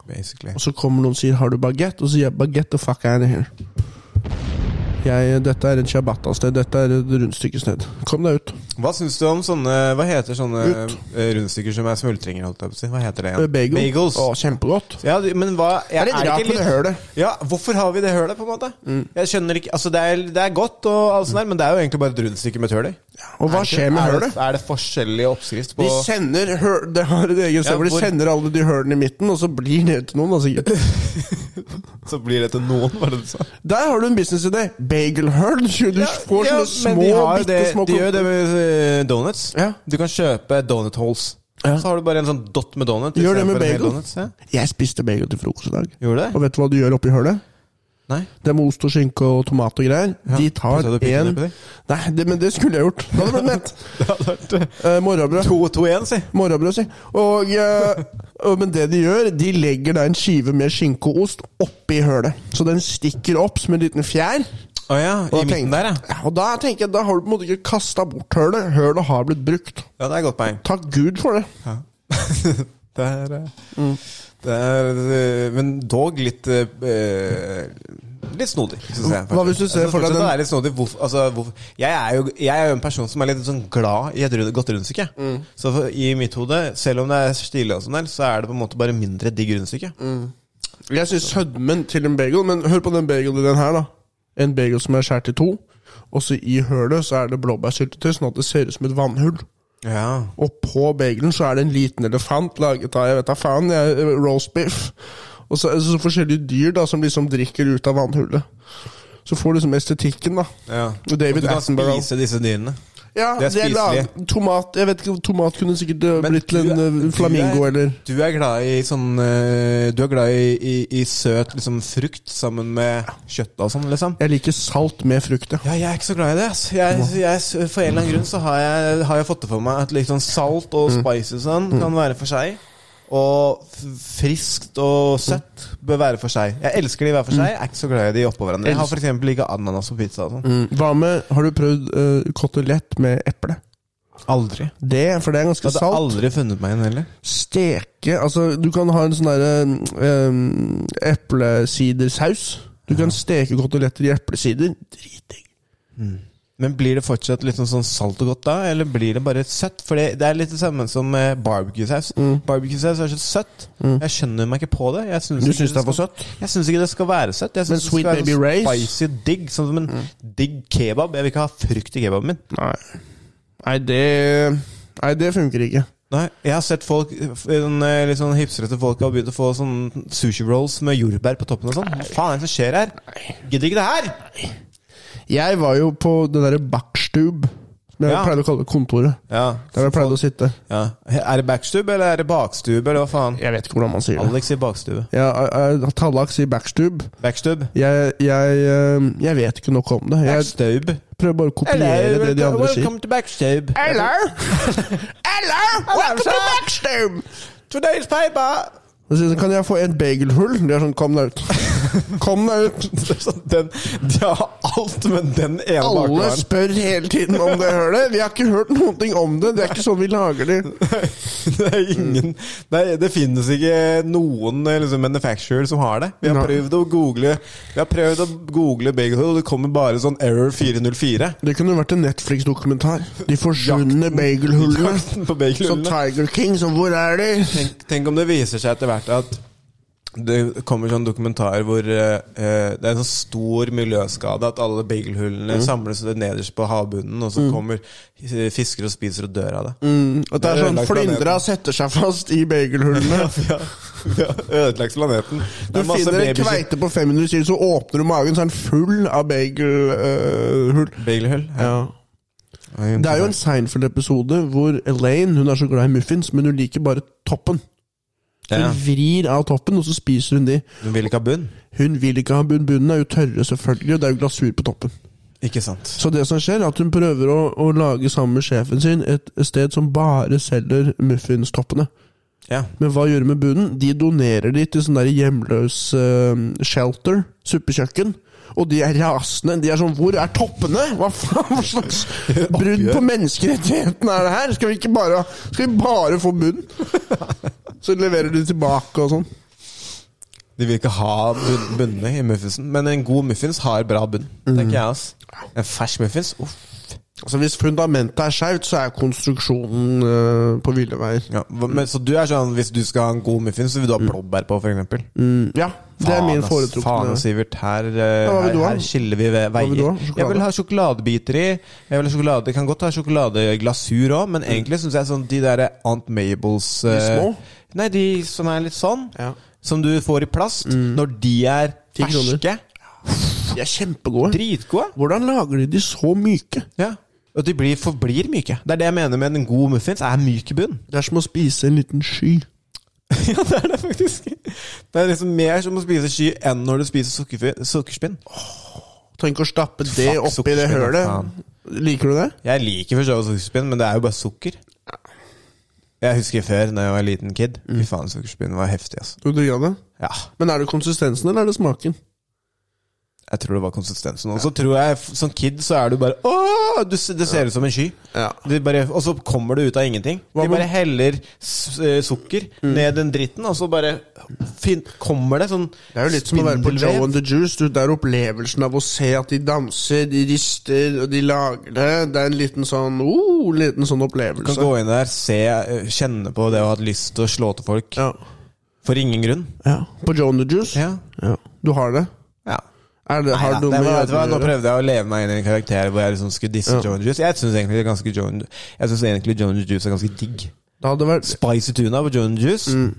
Speaker 2: Basically.
Speaker 3: Og så kommer noen og sier 'har du bagett?' Og så sier jeg 'bagett the fuck out of here'. Jeg, dette er en ciabatta-sted. Dette er et rundstykkested. Kom deg ut.
Speaker 2: Hva syns du om sånne Hva heter sånne
Speaker 3: Ut.
Speaker 2: eh, rundstykker som er smultringer? Holdt jeg på å si? Hva heter det
Speaker 3: Eh,
Speaker 2: igjen?
Speaker 3: Bagel.
Speaker 2: Bagels.
Speaker 3: Å, kjempegodt.
Speaker 2: Ja, du- men hva
Speaker 3: Er det rart med det hølet?
Speaker 2: Ja, hvorfor har vi det hølet, på en måte?
Speaker 3: Mm.
Speaker 2: Jeg skjønner ikke Altså, det er, det er godt, og alt sånt der, men det er jo egentlig bare et rundstykke med et høl i.
Speaker 3: Og hva
Speaker 2: Er det ikke-
Speaker 3: skjer med
Speaker 2: er det-
Speaker 3: hølet?
Speaker 2: Er det forskjellig oppskrift på
Speaker 3: De sender høl, det har et eget sted
Speaker 2: Ja,
Speaker 3: hvor de
Speaker 2: hvor-
Speaker 3: sender alle de hølene i midten, og så blir det til noen. da, sikkert.
Speaker 2: Så blir det til noen, var det du sa?
Speaker 3: Der har du en businessidé! Bagelhull. Du får
Speaker 2: Ja,
Speaker 3: sånne
Speaker 2: men
Speaker 3: små,
Speaker 2: de har
Speaker 3: bitte
Speaker 2: det-
Speaker 3: små
Speaker 2: De gjør det med eh, donuts.
Speaker 3: Ja.
Speaker 2: Du kan kjøpe donut holes.
Speaker 3: Ja.
Speaker 2: Så har du bare en sånn dott med donut.
Speaker 3: Gjør det
Speaker 2: istedenfor
Speaker 3: med
Speaker 2: en hel
Speaker 3: bagel.
Speaker 2: Donuts, ja.
Speaker 3: Jeg spiste bagel til frokost i dag.
Speaker 2: Gjorde du det?
Speaker 3: Og vet du hva du gjør oppi hølet?
Speaker 2: Nei.
Speaker 3: Det er med ost og skinke og tomat og greier. De tar
Speaker 2: Putta du pikken
Speaker 3: en
Speaker 2: oppi der?
Speaker 3: Nei, det, men det skulle jeg gjort. Da hadde jeg blitt mett.
Speaker 2: Det hadde vært
Speaker 3: Eh, morrabrød.
Speaker 2: 2-2-1, si.
Speaker 3: Morrabrød, si. Og, eh, og, men det de gjør, de legger da en skive med skinke og ost oppi hølet. Så den stikker opp som en liten fjær.
Speaker 2: Å ja,
Speaker 3: Og
Speaker 2: i
Speaker 3: da
Speaker 2: midten
Speaker 3: tenker-
Speaker 2: der, ja.
Speaker 3: ja. Og da tenker jeg, da har du på en måte ikke kasta bort hølet. Hølet har blitt brukt.
Speaker 2: Ja, det er et godt poeng.
Speaker 3: Takk Gud for det.
Speaker 2: Det er, eh,
Speaker 3: Mm.
Speaker 2: det er eh, Men dog litt eh, Litt snodig, syns jeg.
Speaker 3: Hva hvis du ser for deg
Speaker 2: den
Speaker 3: den-
Speaker 2: litt snodig, hvorfor, altså, hvorfor, jeg, er jo, jeg er jo en person som er litt sånn glad i et rund- godt rundstykke.
Speaker 3: Mm.
Speaker 2: Så for, i mitt hode, selv om det er stilig, og sånn der, så er det på en måte bare mindre digg rundstykke.
Speaker 3: Mm. Jeg syns sødmen til en bagel Men hør på den bagelen i den her, da. En bagel som er skåret i to. Og så i hølet så er det blåbærsyltetøy, sånn at det ser ut som et vannhull.
Speaker 2: Ja.
Speaker 3: Og på bagelen så er det en liten elefant laget av jeg vet da faen, jeg, roast beef. Og så, så forskjellige dyr da som liksom drikker ut av vannhullet. Så får du liksom estetikken, da.
Speaker 2: ja.
Speaker 3: Og David
Speaker 2: Og du kan
Speaker 3: Attenborough.
Speaker 2: spise disse dyrene.
Speaker 3: Ja,
Speaker 2: Det er
Speaker 3: det er lag-
Speaker 2: spiselig.
Speaker 3: Tomat jeg vet ikke, tomat kunne sikkert eh,
Speaker 2: Men
Speaker 3: blitt til en
Speaker 2: du er-
Speaker 3: eh, flamingo
Speaker 2: du er,
Speaker 3: eller
Speaker 2: Du er glad i sånn eh, Du er glad i, i, i søt liksom, frukt sammen med kjøtt og sånn, liksom?
Speaker 3: Jeg liker salt med frukt, ja.
Speaker 2: Ja, jeg er ikke så glad i det. ass. Jeg, jeg, for en eller annen grunn så har jeg, har jeg fått det for meg at liksom salt og
Speaker 3: Mm.
Speaker 2: spice og sånn kan være for seg. Og f- friskt og søtt bør være for seg. Jeg elsker de hver
Speaker 3: Mm.
Speaker 2: for seg. Jeg er ikke så glad i de oppå hverandre. Jeg har for eksempel ikke ananas på pizza. og sånn
Speaker 3: Mm. Hva med Har du prøvd eh, kotelett med eple?
Speaker 2: Aldri.
Speaker 3: Det, for det er ganske
Speaker 2: Jeg hadde
Speaker 3: salt.
Speaker 2: aldri funnet meg en heller.
Speaker 3: Steke Altså, du kan ha en sånn derre um, eplesidersaus. Du kan steke koteletter i eplesider. Dritdigg.
Speaker 2: Men blir det fortsatt litt sånn- sånn salt og godt da, eller blir det bare søtt? For det, det er litt det samme som eh, barbecue-saus.
Speaker 3: Mm.
Speaker 2: Barbecue-saus er så søtt. Jeg skjønner meg ikke på det. Jeg synes
Speaker 3: Du
Speaker 2: ikke
Speaker 3: syns det er for
Speaker 2: skal-
Speaker 3: søtt?
Speaker 2: Jeg syns ikke det skal være søtt. Jeg
Speaker 3: Men
Speaker 2: synes det
Speaker 3: Sweet
Speaker 2: skal være
Speaker 3: Baby Mm.
Speaker 2: sånn
Speaker 3: Ray's?
Speaker 2: spicy digg. Sånn som en digg kebab. Jeg vil ikke ha frukt i kebaben min.
Speaker 3: Nei. Nei, det Nei, det funker ikke.
Speaker 2: Nei, Jeg har sett folk en, eh, litt sånn hipstrete folk har begynt å få sånn sushi rolls med jordbær på toppen og sånn. Hva faen er det som skjer her? Gidder ikke det her!
Speaker 3: Jeg var jo på det derre Backstube, som jeg
Speaker 2: Ja.
Speaker 3: pleide å kalle kontoret.
Speaker 2: Ja.
Speaker 3: Der jeg pleide å sitte.
Speaker 2: ja. Er det backstube, eller er det bakstube, eller hva faen?
Speaker 3: Jeg vet ikke hvordan man sier det.
Speaker 2: Alex i bakstube.
Speaker 3: Ja, jeg- jeg- Tallak sier Backstube.
Speaker 2: Backstube.
Speaker 3: Jeg, jeg, eh, jeg vet ikke nok om det. Jeg
Speaker 2: Backstube.
Speaker 3: prøver bare å kopiere det de andre sier.
Speaker 2: to Backstube.
Speaker 3: Hello! Hello! Welcome to Backstube!
Speaker 2: Today's paper!
Speaker 3: Da sier jeg, Kan jeg få et bagelhull? De er sånn, kom deg ut. Kom deg ut!
Speaker 2: sånn, Den, de har alt, men den ene
Speaker 3: Alle
Speaker 2: bakgården.
Speaker 3: spør hele tiden om det hølet. Vi har ikke hørt noen ting om det. Det er ikke sånn vi lager det.
Speaker 2: Det er ingen Det, er, det finnes ikke noen eh, liksom, manufacturer som har det. Vi har
Speaker 3: Nei.
Speaker 2: prøvd å google Vi har prøvd å google Bagel Hill, og det kommer bare sånn error 404.
Speaker 3: Det kunne vært en Netflix-dokumentar. De forsvunne bagelhullene. Sånn
Speaker 2: Jakten på Bagel
Speaker 3: Som
Speaker 2: Hill.
Speaker 3: Tiger King, som hvor er de?
Speaker 2: Tenk, tenk om det viser seg etter hvert at Det kommer sånn dokumentar hvor eh, eh, det er en sånn stor miljøskade at alle bagelhullene samles nederst på havbunnen, og så kommer eh, fisker og spiser og dør av det.
Speaker 3: At det er sånn
Speaker 2: ødelagt
Speaker 3: Flyndra
Speaker 2: planeten.
Speaker 3: setter seg fast i bagelhullene.
Speaker 2: Ja, ja, Ødelagt planeten.
Speaker 3: Du finner en kveite på 500 kilo, så åpner du magen, så er den full av bagelhull.
Speaker 2: Bagelhull. Ja.
Speaker 3: Det er jo en Seinfeld-episode hvor Elaine hun er så glad i muffins, men hun liker bare toppen. Hun
Speaker 2: Ja.
Speaker 3: vrir av toppen, og så spiser hun de.
Speaker 2: Hun vil ikke ha bunn.
Speaker 3: Hun vil ikke ha bunn. Bunnen er jo tørre, selvfølgelig, og det er jo glasur på toppen.
Speaker 2: Ikke sant.
Speaker 3: Så det som skjer, er at hun prøver å, å lage sammen med sjefen sin et sted som bare selger muffinstoppene.
Speaker 2: Ja.
Speaker 3: Men hva gjør de med bunnen? De donerer de til sånn der hjemløs eh, shelter, suppekjøkken. Og de er rasende. De er sånn 'Hvor er toppene?!' Hva faen hva slags brudd på menneskerettighetene er det her?! Skal vi ikke bare, skal vi bare få bunnen? Så leverer de tilbake og sånn.
Speaker 2: De vil ikke ha bun bunnene i muffinsen. Men en god muffins har bra bunn. Tenker jeg ass. Mm. En fersk muffins uff.
Speaker 3: Altså Hvis fundamentet er skjevt, så er konstruksjonen eh, på ville veier.
Speaker 2: Ja. hva- Men, så du er sånn hvis du skal ha en god muffins, så vil du ha blåbær på, f.eks.?
Speaker 3: Mm, ja, det er min
Speaker 2: Faen,
Speaker 3: foretrukne.
Speaker 2: ass, Sivert. Her, eh,
Speaker 3: hva vil
Speaker 2: her,
Speaker 3: du ha?
Speaker 2: her skiller vi ve- veier.
Speaker 3: vil du ha?
Speaker 2: Jeg
Speaker 3: Sjokolade?
Speaker 2: vil ha sjokoladebiter i. Jeg vil ha sjokolade. Jeg kan godt ha sjokoladeglasur òg, men egentlig syns jeg sånn de der Aunt Mabels eh,
Speaker 3: Mm. små?
Speaker 2: Nei, de som er litt sånn.
Speaker 3: Ja. Mm.
Speaker 2: Som du får i plast. Når de er
Speaker 3: Ti kroner.
Speaker 2: ferske.
Speaker 3: De er kjempegode.
Speaker 2: Dritgode.
Speaker 3: Hvordan lager de de så myke?
Speaker 2: Ja. Og de blir, forblir myke. Det er det jeg mener med en god muffins. er myk i bunnen.
Speaker 3: Det er som å spise en liten sky.
Speaker 2: ja, det er det faktisk. Det er liksom mer som å spise sky enn når du spiser sukkerfi- sukkerspinn.
Speaker 3: Tenk å stappe det
Speaker 2: Fuck,
Speaker 3: oppi det
Speaker 2: sukkerspinn,
Speaker 3: hølet.
Speaker 2: faen.
Speaker 3: Liker du det?
Speaker 2: Jeg liker for så vidt sukkerspinn, men det er jo bare sukker. Jeg husker før, da jeg var en liten kid. Fy
Speaker 3: Mm.
Speaker 2: faen, sukkerspinn var heftig, altså.
Speaker 3: Du digger det?
Speaker 2: Ja,
Speaker 3: Men er det konsistensen eller er det smaken?
Speaker 2: jeg tror det var konsistensen. Og så tror jeg, f- som kid, så er du bare Åh! Du, s- det ser ut som en sky.
Speaker 3: Ja.
Speaker 2: Det bare, og så kommer det ut av ingenting.
Speaker 3: Hva
Speaker 2: De
Speaker 3: med- Mm.
Speaker 2: bare heller s- eh, sukker ned den dritten, og så bare fin, kommer det sånn
Speaker 3: Det er jo litt som å være på
Speaker 2: spindelvev.
Speaker 3: Joe and the Juice. Du, det er opplevelsen av å se at de danser, de rister, og de lager det. Det er en liten sånn oh, liten sånn
Speaker 2: Du kan
Speaker 3: opplevelse.
Speaker 2: gå inn der, se, eh, kjenne på det å ha hatt lyst til å slå til folk.
Speaker 3: Ja.
Speaker 2: For ingen grunn.
Speaker 3: ja. På Joe and the Juice?
Speaker 2: Ja.
Speaker 3: Ja. Du har det? Er det, har
Speaker 2: Neida,
Speaker 3: det noe
Speaker 2: det var,
Speaker 3: med
Speaker 2: vet du hva,
Speaker 3: jødene
Speaker 2: nå
Speaker 3: å gjøre?
Speaker 2: prøvde jeg å leve meg inn i en karakter hvor jeg liksom skulle disse
Speaker 3: Ja.
Speaker 2: Joan Juice. Jeg syns egentlig det er ganske Joan Jeg synes egentlig Joan Juice er ganske digg.
Speaker 3: Det hadde vært
Speaker 2: Spicy tuna på Joan Juice.
Speaker 3: Mm.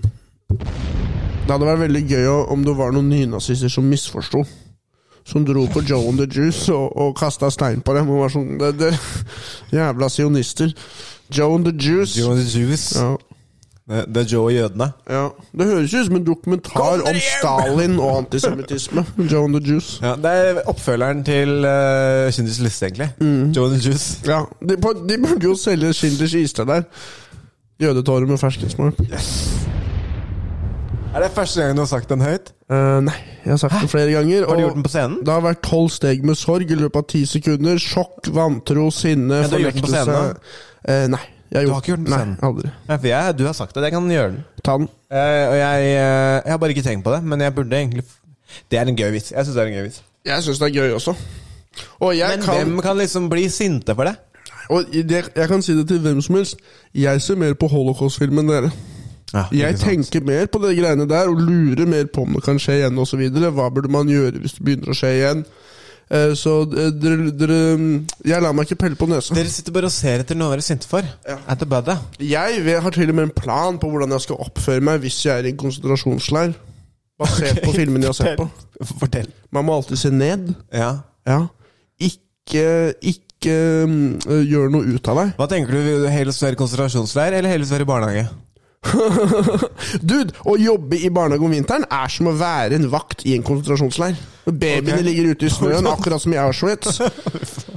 Speaker 3: Det hadde vært veldig gøy å- om det var noen nynazister som misforsto. Som dro på Joe and the Juice og, og kasta stein på dem. Og var sånn, det, det, jævla sionister. Joe and the Juice.
Speaker 2: Joan Juice.
Speaker 3: Ja,
Speaker 2: Det, det er Joe og jødene.
Speaker 3: ja. Det høres jo ut som en dokumentar om Stalin og antisemittisme. Joe and the Juice.
Speaker 2: Ja, det er oppfølgeren til uh, Kjendis liste, egentlig.
Speaker 3: Mm.
Speaker 2: Joan Juice.
Speaker 3: Ja, de, på, de burde jo selge Schindlers ister der. Jødetårer med ferskensmak.
Speaker 2: Er det første gang du har sagt den høyt?
Speaker 3: Eh, nei, jeg har sagt det flere ganger.
Speaker 2: Har du
Speaker 3: og
Speaker 2: gjort den på scenen?
Speaker 3: Det har vært tolv steg med sorg i løpet av ti sekunder. Sjokk, vantro, sinne,
Speaker 2: Ja, du har gjort den på
Speaker 3: fornektelse
Speaker 2: scenen,
Speaker 3: Eh, nei. Jeg
Speaker 2: Du har ikke gjort den på scenen?
Speaker 3: Nei, aldri.
Speaker 2: Nei, for jeg, du har sagt det. Jeg kan gjøre den.
Speaker 3: Ta den.
Speaker 2: Eh, og jeg, eh, jeg har bare ikke tenkt på det, men jeg burde egentlig f- Det er en gøy vits. Jeg synes det er en gøy vits.
Speaker 3: Jeg syns det er gøy også. Og jeg,
Speaker 2: Men
Speaker 3: kan,
Speaker 2: hvem kan liksom bli sinte for det?
Speaker 3: og i det, jeg kan si det til hvem som helst. Jeg ser mer på holocaust-film enn dere. Jeg tenker mer på de greiene der og lurer mer på om det kan skje igjen osv. Hva burde man gjøre hvis det begynner å skje igjen? Eh, Så eh, dere, dere Jeg lar meg ikke pelle på nesa.
Speaker 2: Dere sitter bare og ser etter noe å være sinte for. Er det badet?
Speaker 3: Jeg vet- har til og med en plan på hvordan jeg skal oppføre meg hvis jeg er i en konsentrasjonsleir. Basert på filmen jeg har sett på.
Speaker 2: Fortell.
Speaker 3: Man må alltid se ned.
Speaker 2: Ja.
Speaker 3: Ja. Ikke, ikke mm, gjør noe ut av deg.
Speaker 2: Hva tenker du? Vil du helst være i konsentrasjonsleir eller helst være i barnehage?
Speaker 3: Dude, å jobbe i barnehage om vinteren er som å være en vakt i en konsentrasjonsleir. Når Babyene
Speaker 2: Ok.
Speaker 3: ligger ute i snøen, akkurat som i Auschwitz.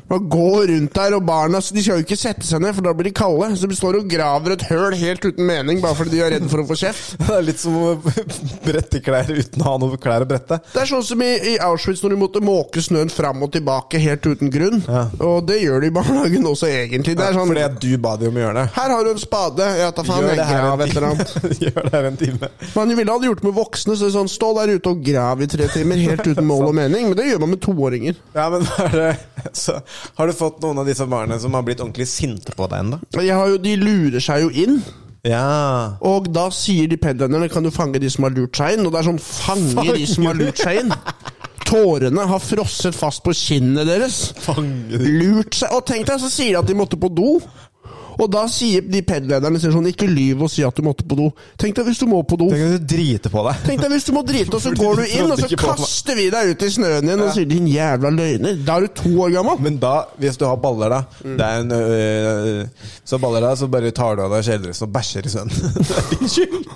Speaker 3: Man går rundt der, og barna De skal jo ikke sette seg ned, for da blir de kalde. Så de står og graver et høl helt uten mening, bare fordi de er redd for å få kjeft.
Speaker 2: Det er litt som å brette klær uten å ha noe klær å brette.
Speaker 3: Det er sånn som i, i Auschwitz, når de måtte måke snøen fram og tilbake helt uten grunn.
Speaker 2: Ja.
Speaker 3: Og det gjør de i barnehagen også, egentlig. Det er sånn,
Speaker 2: Fordi at du ba de om å gjøre det.
Speaker 3: her har du en spade, ja, ta faen, jeg grav et eller annet.
Speaker 2: Gjør det her en time.
Speaker 3: Man ville ha det gjort med voksne, så det er sånn, stå der ute og grav i tre timer, helt uten mål og mening. Men det gjør man med toåringer.
Speaker 2: Ja, men hva er det? Så, har du fått noen av disse barna som har blitt ordentlig sinte på deg ennå?
Speaker 3: Jeg har jo, de lurer seg jo inn.
Speaker 2: Ja.
Speaker 3: Og da sier de pendlerne Kan du fange de som har lurt seg inn? Og det er sånn Fange de som har lurt seg inn? Tårene har frosset fast på kinnet deres.
Speaker 2: Fange de.
Speaker 3: Lurt seg Og tenk deg, så sier de at de måtte på do. Og da sier de pedlederne sier sånn Ikke lyv og si at du måtte på do. Tenk deg hvis du må på do.
Speaker 2: Tenk at du driter på deg.
Speaker 3: Tenk deg hvis du må drite, og så
Speaker 2: Fordi
Speaker 3: går du
Speaker 2: du
Speaker 3: inn, og
Speaker 2: trodde
Speaker 3: så
Speaker 2: ikke på meg.
Speaker 3: kaster vi deg ut i snøen igjen og sier 'din jævla løgner'. Da er du to år gammel.
Speaker 2: Men da, hvis du har baller, da
Speaker 3: Mm.
Speaker 2: det er en, øh, Så har baller da, så bare tar du av deg kjeledressen og bæsjer i sønnen. det er din skyld!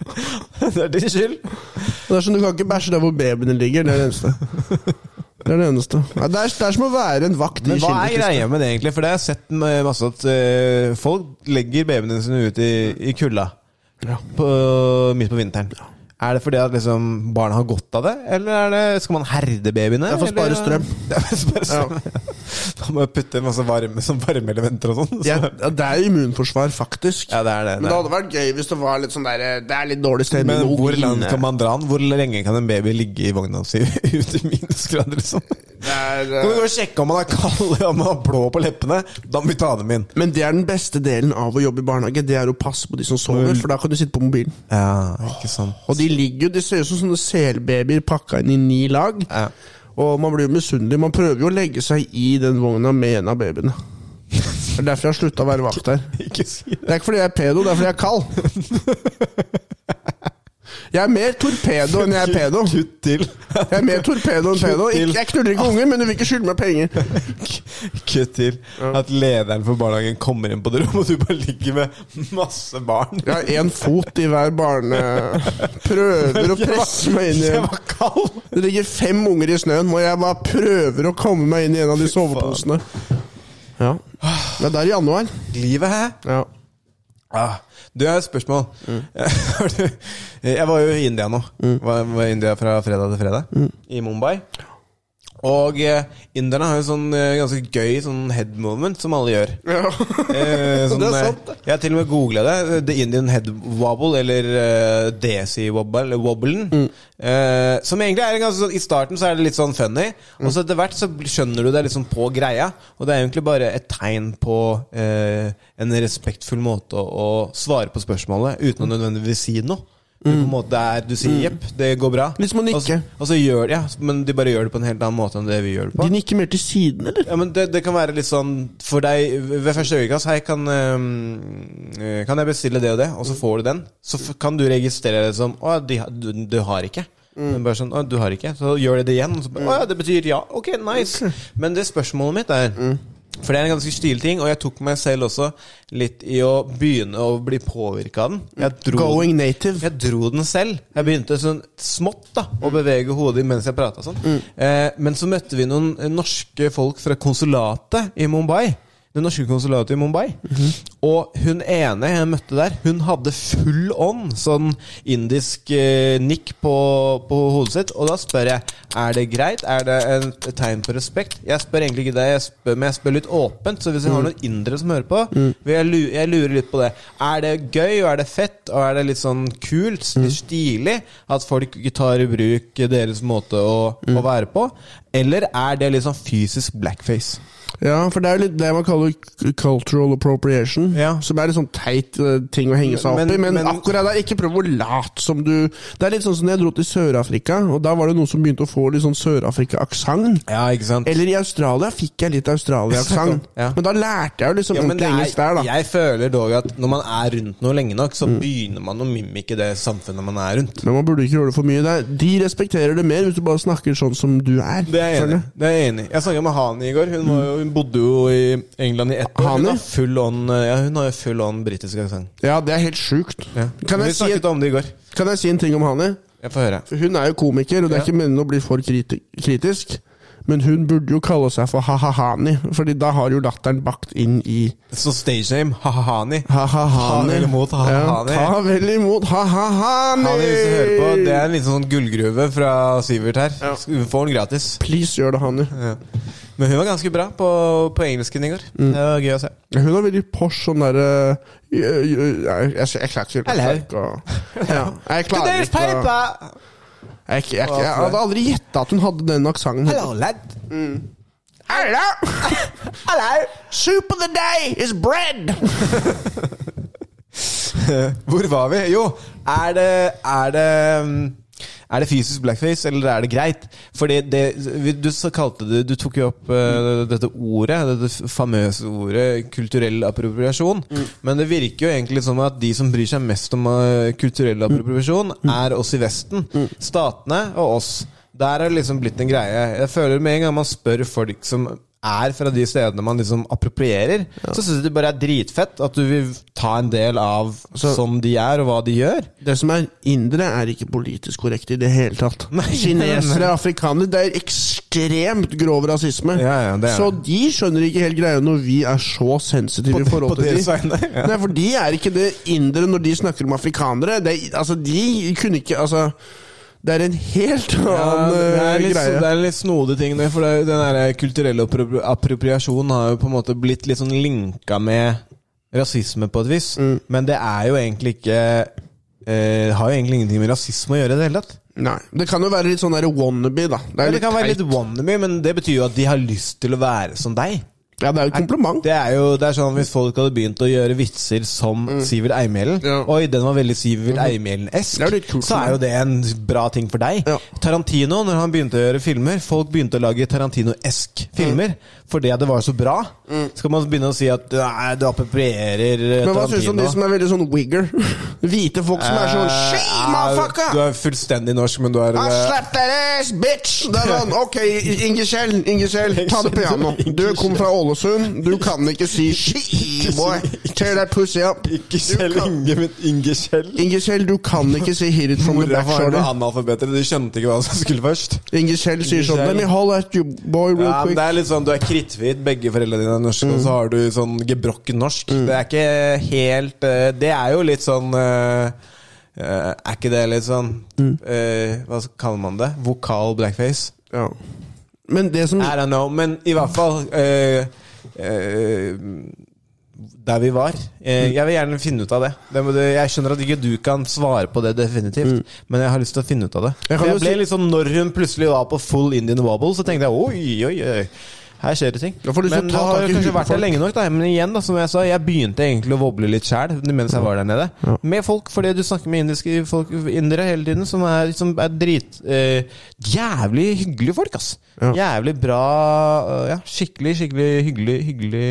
Speaker 2: det er din skyld.
Speaker 3: Og Det er sånn, Du kan ikke bæsje der hvor babyene ligger. Det er det eneste. Det er det eneste. Ja, det, er, det er som å være en vakt i
Speaker 2: Men hva er
Speaker 3: Schindlerkisten.
Speaker 2: greia med det, egentlig? For det har jeg sett m- masse at øh, folk legger babyene sine ut i, i kulda på, midt på vinteren. Er det fordi at liksom barna har godt av det, eller er det, skal man herde babyene?
Speaker 3: Det er for å spare
Speaker 2: eller?
Speaker 3: strøm.
Speaker 2: Det er for å spare strøm. Da må jeg putte en masse varme som varmeelementer og sånn. så-
Speaker 3: Ja, ja, det er immunforsvar, faktisk.
Speaker 2: Ja, det er det. det
Speaker 3: Men det
Speaker 2: er.
Speaker 3: hadde vært gøy hvis det var litt sånn der eh, Det er litt dårlig stemning.
Speaker 2: Men
Speaker 3: nå
Speaker 2: hvor langt
Speaker 3: inne.
Speaker 2: kan man dra den? Hvor lenge kan en baby ligge i vogna si ute i minusgrader? Liksom?
Speaker 3: Det er, eh,
Speaker 2: Kan vi gå og sjekke om han er kald og om han har blå på leppene? Da må vi ta dem inn.
Speaker 3: Men det er den beste delen av å jobbe i barnehage. Det er å passe på de som sover, for da kan du sitte på mobilen.
Speaker 2: Ja, ikke sant.
Speaker 3: Og de ligger jo, de ser ut som sånne selbabyer pakka inn i ni lag.
Speaker 2: Ja.
Speaker 3: Og man blir jo misunnelig. Man prøver jo å legge seg i den vogna med en av babyene. Det er derfor jeg har slutta å være vakt her.
Speaker 2: Ikke si det.
Speaker 3: Det er ikke fordi jeg er pedo, det er fordi jeg er kald. Jeg er mer torpedo enn jeg er pedo.
Speaker 2: Kutt til.
Speaker 3: Jeg er mer torpedo enn pedo. Ikke- Jeg knuller ikke unger, men du vil ikke skylde meg penger.
Speaker 2: Kutt til. At lederen for barnehagen kommer inn på det rommet, og du bare ligger med masse barn.
Speaker 3: Jeg har én fot i hver barne... Prøver å presse meg inn i
Speaker 2: Jeg var kald!
Speaker 3: Det ligger fem unger i snøen, og jeg bare prøver å komme meg inn i en av de soveposene. Ja. Det er der i januar.
Speaker 2: Livet, hæ?
Speaker 3: Ja.
Speaker 2: Ah, du, jeg har et spørsmål. Har du- jeg var jo i India nå. Var, var i India fra fredag til fredag. I Mumbai. Og eh, inderne har jo sånn eh, ganske gøy sånn head movement som alle gjør.
Speaker 3: Ja.
Speaker 2: Eh, sånn,
Speaker 3: Det er
Speaker 2: eh,
Speaker 3: sant, det.
Speaker 2: Jeg har til og med googla det. eh, The Indian Head Wobble, eller eh, DC Wobble, eller wobblen.
Speaker 3: Mm.
Speaker 2: Eh, som egentlig er en ganske sånn I starten så er det litt sånn funny,
Speaker 3: Mm.
Speaker 2: og så etter hvert så bl- skjønner du det liksom på greia. Og det er egentlig bare et tegn på eh, en respektfull måte å, å svare på spørsmålet uten å nødvendigvis si noe. Du,
Speaker 3: Mm.
Speaker 2: på en måte er, du sier 'jepp, det går bra'.
Speaker 3: Hvis man
Speaker 2: Og så,
Speaker 3: nikker.
Speaker 2: og så gjør, ja, men de bare gjør det på en helt annen måte enn det vi gjør det på.
Speaker 3: De nikker mer til siden, eller?
Speaker 2: Ja, men det, det kan være litt sånn For deg ved første øyekast Hei, kan, ehm, eh, kan jeg bestille det og det? Og så får du den. Så f kan du registrere det som Å, de, har- du, du har ikke. Men Bare sånn, å, du har ikke Så gjør det det igjen. Og så bare, å ja, det betyr ja. Ok, nice. Men det spørsmålet mitt er For det er en ganske stilig ting, og jeg tok meg selv også litt i å begynne å bli påvirka av den. Jeg dro
Speaker 3: Going native.
Speaker 2: jeg dro den selv. Jeg begynte sånn smått da å bevege hodet mens jeg prata sånn.
Speaker 3: Mm.
Speaker 2: Eh, men så møtte vi noen eh, norske folk fra konsulatet i Mumbai. Det norske konsulatet i Mumbai. Og hun ene jeg møtte der, hun hadde full ånd, sånn indisk eh, nikk på, på hodet sitt. Og da spør jeg er det greit, er det en- et tegn på respekt. Jeg spør egentlig ikke det, jeg spør, men jeg spør litt åpent. Så hvis jeg har noen indere som hører på, vil jeg, lu- jeg lurer litt på det. Er det gøy, og er det fett, og er det litt sånn kult, litt stilig, at folk ikke tar i bruk deres måte å, å være på? Eller er det litt sånn fysisk blackface?
Speaker 3: Ja, for det er jo litt det man kaller k- cultural appropriation.
Speaker 2: Ja.
Speaker 3: Som er litt sånn teit eh, ting å henge seg opp
Speaker 2: Men-
Speaker 3: i. Men,
Speaker 2: men-
Speaker 3: akkurat der, ikke prøv å late som du Det er litt sånn som når jeg dro til Sør-Afrika, og da var det noen som begynte å få litt sånn Sør-Afrika-aksent.
Speaker 2: Ja, ikke sant?
Speaker 3: Eller i Australia fikk jeg litt Australia-aksent.
Speaker 2: Ja.
Speaker 3: Men da lærte jeg jo liksom
Speaker 2: Ja, men det
Speaker 3: ordentlig engelsk der,
Speaker 2: er,
Speaker 3: da.
Speaker 2: jeg føler dog at når man er rundt noe lenge nok, så begynner man å mimike det samfunnet man er rundt.
Speaker 3: Men man burde ikke gjøre det for mye. Det er, de respekterer det mer hvis du bare snakker sånn som du er.
Speaker 2: Det er jeg enig
Speaker 3: Skjønner
Speaker 2: i. Det er Jeg enig i. Jeg snakka med Hani i går. Hun, var jo, hun bodde jo i England i ett år.
Speaker 3: Hani?
Speaker 2: Hun har full on, eh, ja, hun har jo full on britisk aksent.
Speaker 3: du? Ja, det er helt sjukt. Kan,
Speaker 2: Vi
Speaker 3: jeg si,
Speaker 2: snakket om det i går.
Speaker 3: kan jeg si en ting om Hani?
Speaker 2: Jeg får høre.
Speaker 3: Hun er jo komiker, og det er ikke meningen å bli for kriti kritisk. Men hun burde jo kalle seg for ha-ha-hani, Fordi da har jo latteren bakt inn i
Speaker 2: Så stage name ha-ha-hani.
Speaker 3: ha-ha-hani.
Speaker 2: Ta vel imot ha-ha-hani.
Speaker 3: Ja, ta vel imot ha-ha-hani!
Speaker 2: Hani, hvis du hører på, det er en liten sånn gullgruve fra Sivert her. Hun får den gratis.
Speaker 3: Please gjør det, Hani.
Speaker 2: Men hun var ganske bra på, på engelsken i går.
Speaker 3: Mm.
Speaker 2: Det var gøy å se.
Speaker 3: Hun er veldig Porsche sånn derre jeg, jeg, jeg, jeg klarer ikke
Speaker 2: Hello.
Speaker 3: å ja, Jeg klarer ikke å jeg, jeg, jeg, jeg hadde aldri gjetta at hun hadde den aksenten.
Speaker 2: lad.
Speaker 3: Hello! Hello! Soup of the day is bread!
Speaker 2: Hvor var vi? Jo, er det, er det mm, er det fysisk blackface, eller er det greit? Fordi det, vi- Du så kalte det, du tok jo opp eh, dette ordet, dette f- famøse ordet, kulturell appropriasjon. Men det virker jo egentlig som at de som bryr seg mest om eh, kulturell appropriasjon, er oss i Vesten. Statene og oss. Der er det liksom blitt en greie. Jeg føler Med en gang man spør folk som er fra de stedene man liksom approprierer, så syns de det bare er dritfett at du vil ta en del av som de er, og hva de gjør.
Speaker 3: Det som er indere, er ikke politisk korrekt i det hele tatt. Kinesere, afrikanere Det er ekstremt grov rasisme.
Speaker 2: Ja, ja, det er
Speaker 3: så
Speaker 2: det.
Speaker 3: de skjønner ikke helt greia når vi er så sensitive i forhold
Speaker 2: på
Speaker 3: til
Speaker 2: deres
Speaker 3: de.
Speaker 2: vegne, ja.
Speaker 3: Nei, for de er ikke det indere når de snakker om afrikanere. Det, er- altså, de kunne ikke Altså, det er en helt annen
Speaker 2: det, er
Speaker 3: eh,
Speaker 2: litt, sånn
Speaker 3: greie.
Speaker 2: det er litt snodig ting, det, for det, er jo- den der eh, kulturelle appro- appropriasjonen har jo på en måte blitt litt sånn linka med rasisme på et vis.
Speaker 3: Mm.
Speaker 2: Men det er jo egentlig ikke eh, Har jo egentlig ingenting med rasisme å gjøre i det hele tatt.
Speaker 3: Nei. Det kan jo være litt sånn der wannabe, da. Det
Speaker 2: Ja,
Speaker 3: er
Speaker 2: det
Speaker 3: litt
Speaker 2: kan være
Speaker 3: teit.
Speaker 2: litt wannabe, men det betyr jo at de har lyst til å være som deg.
Speaker 3: Ja, det er jo et kompliment.
Speaker 2: Det er jo det er sånn Hvis folk hadde begynt å gjøre vitser som Sivert Eimhjellen
Speaker 3: Mm. Ja.
Speaker 2: Oi, den var veldig Sivert Eimhjellen-esk,
Speaker 3: Det er litt kult
Speaker 2: så
Speaker 3: for
Speaker 2: er jo
Speaker 3: meg.
Speaker 2: det en bra ting for deg.
Speaker 3: Ja.
Speaker 2: Tarantino, når han begynte å gjøre filmer Folk begynte å lage
Speaker 3: Mm.
Speaker 2: Tarantino-esk-filmer fordi at det var så bra. Så kan man begynne å si at nei, du approprierer eh,
Speaker 3: Men hva syns du om de
Speaker 2: Tarantino.
Speaker 3: som er veldig sånn wigger? Hvite folk som er sånn
Speaker 2: Eh,
Speaker 3: Shame,
Speaker 2: er- Du
Speaker 3: motherfucker! Ah,
Speaker 2: er fullstendig norsk, men du er
Speaker 3: I
Speaker 2: eh,
Speaker 3: slapped that ass, bitch! Det er sånn, ok, Ingekjell, Ingekjell, ta det piano. Du kommer fra Ålesund, du kan ikke si she, boy. Tear that pussy up.
Speaker 2: Ikke Kjell Inge, men Inge Kjell.
Speaker 3: Ingekjell, du kan ikke si hit it from the
Speaker 2: Mora
Speaker 3: back
Speaker 2: var
Speaker 3: shoulder.
Speaker 2: noen analfabeter, de skjønte ikke hva som skulle først.
Speaker 3: Ingekjell sier sånn, let me holler at you, boy, real
Speaker 2: Ja, men
Speaker 3: quick. Mm.
Speaker 2: det er litt sånn, Du er kritthvit, begge foreldrene dine er norske, og så har du sånn gebrokken norsk. Det er ikke helt eh, Det er jo litt sånn eh, eh, Er ikke det litt sånn
Speaker 3: Mm.
Speaker 2: eh, Hva kaller man det? Vokal blackface?
Speaker 3: Ja. Men det som
Speaker 2: I don't know, men i hvert fall eh, eh, Der vi var.
Speaker 3: Mm.
Speaker 2: Eh, jeg vil gjerne finne ut av det. det må du, jeg skjønner at ikke du kan svare på det definitivt, men jeg har lyst til å finne ut av det.
Speaker 3: Mm. Jeg kan
Speaker 2: For
Speaker 3: jo
Speaker 2: jeg ble
Speaker 3: si-
Speaker 2: litt sånn, Når hun plutselig var på full Indian wobble, så tenkte jeg oi, oi, oi. Her skjer det ting.
Speaker 3: Da får du lyst til
Speaker 2: men
Speaker 3: å ta
Speaker 2: har
Speaker 3: tak i
Speaker 2: jo kanskje
Speaker 3: huet på
Speaker 2: vært der
Speaker 3: folk.
Speaker 2: lenge nok. da Men igjen, da, som jeg sa, jeg begynte egentlig å woble litt sjæl mens jeg var der nede. Med folk, fordi du snakker med indiske folk, indere hele tiden, som er, som er drit eh, Jævlig hyggelige folk, ass. Jævlig bra eh, Ja, skikkelig, skikkelig hyggelig, hyggelig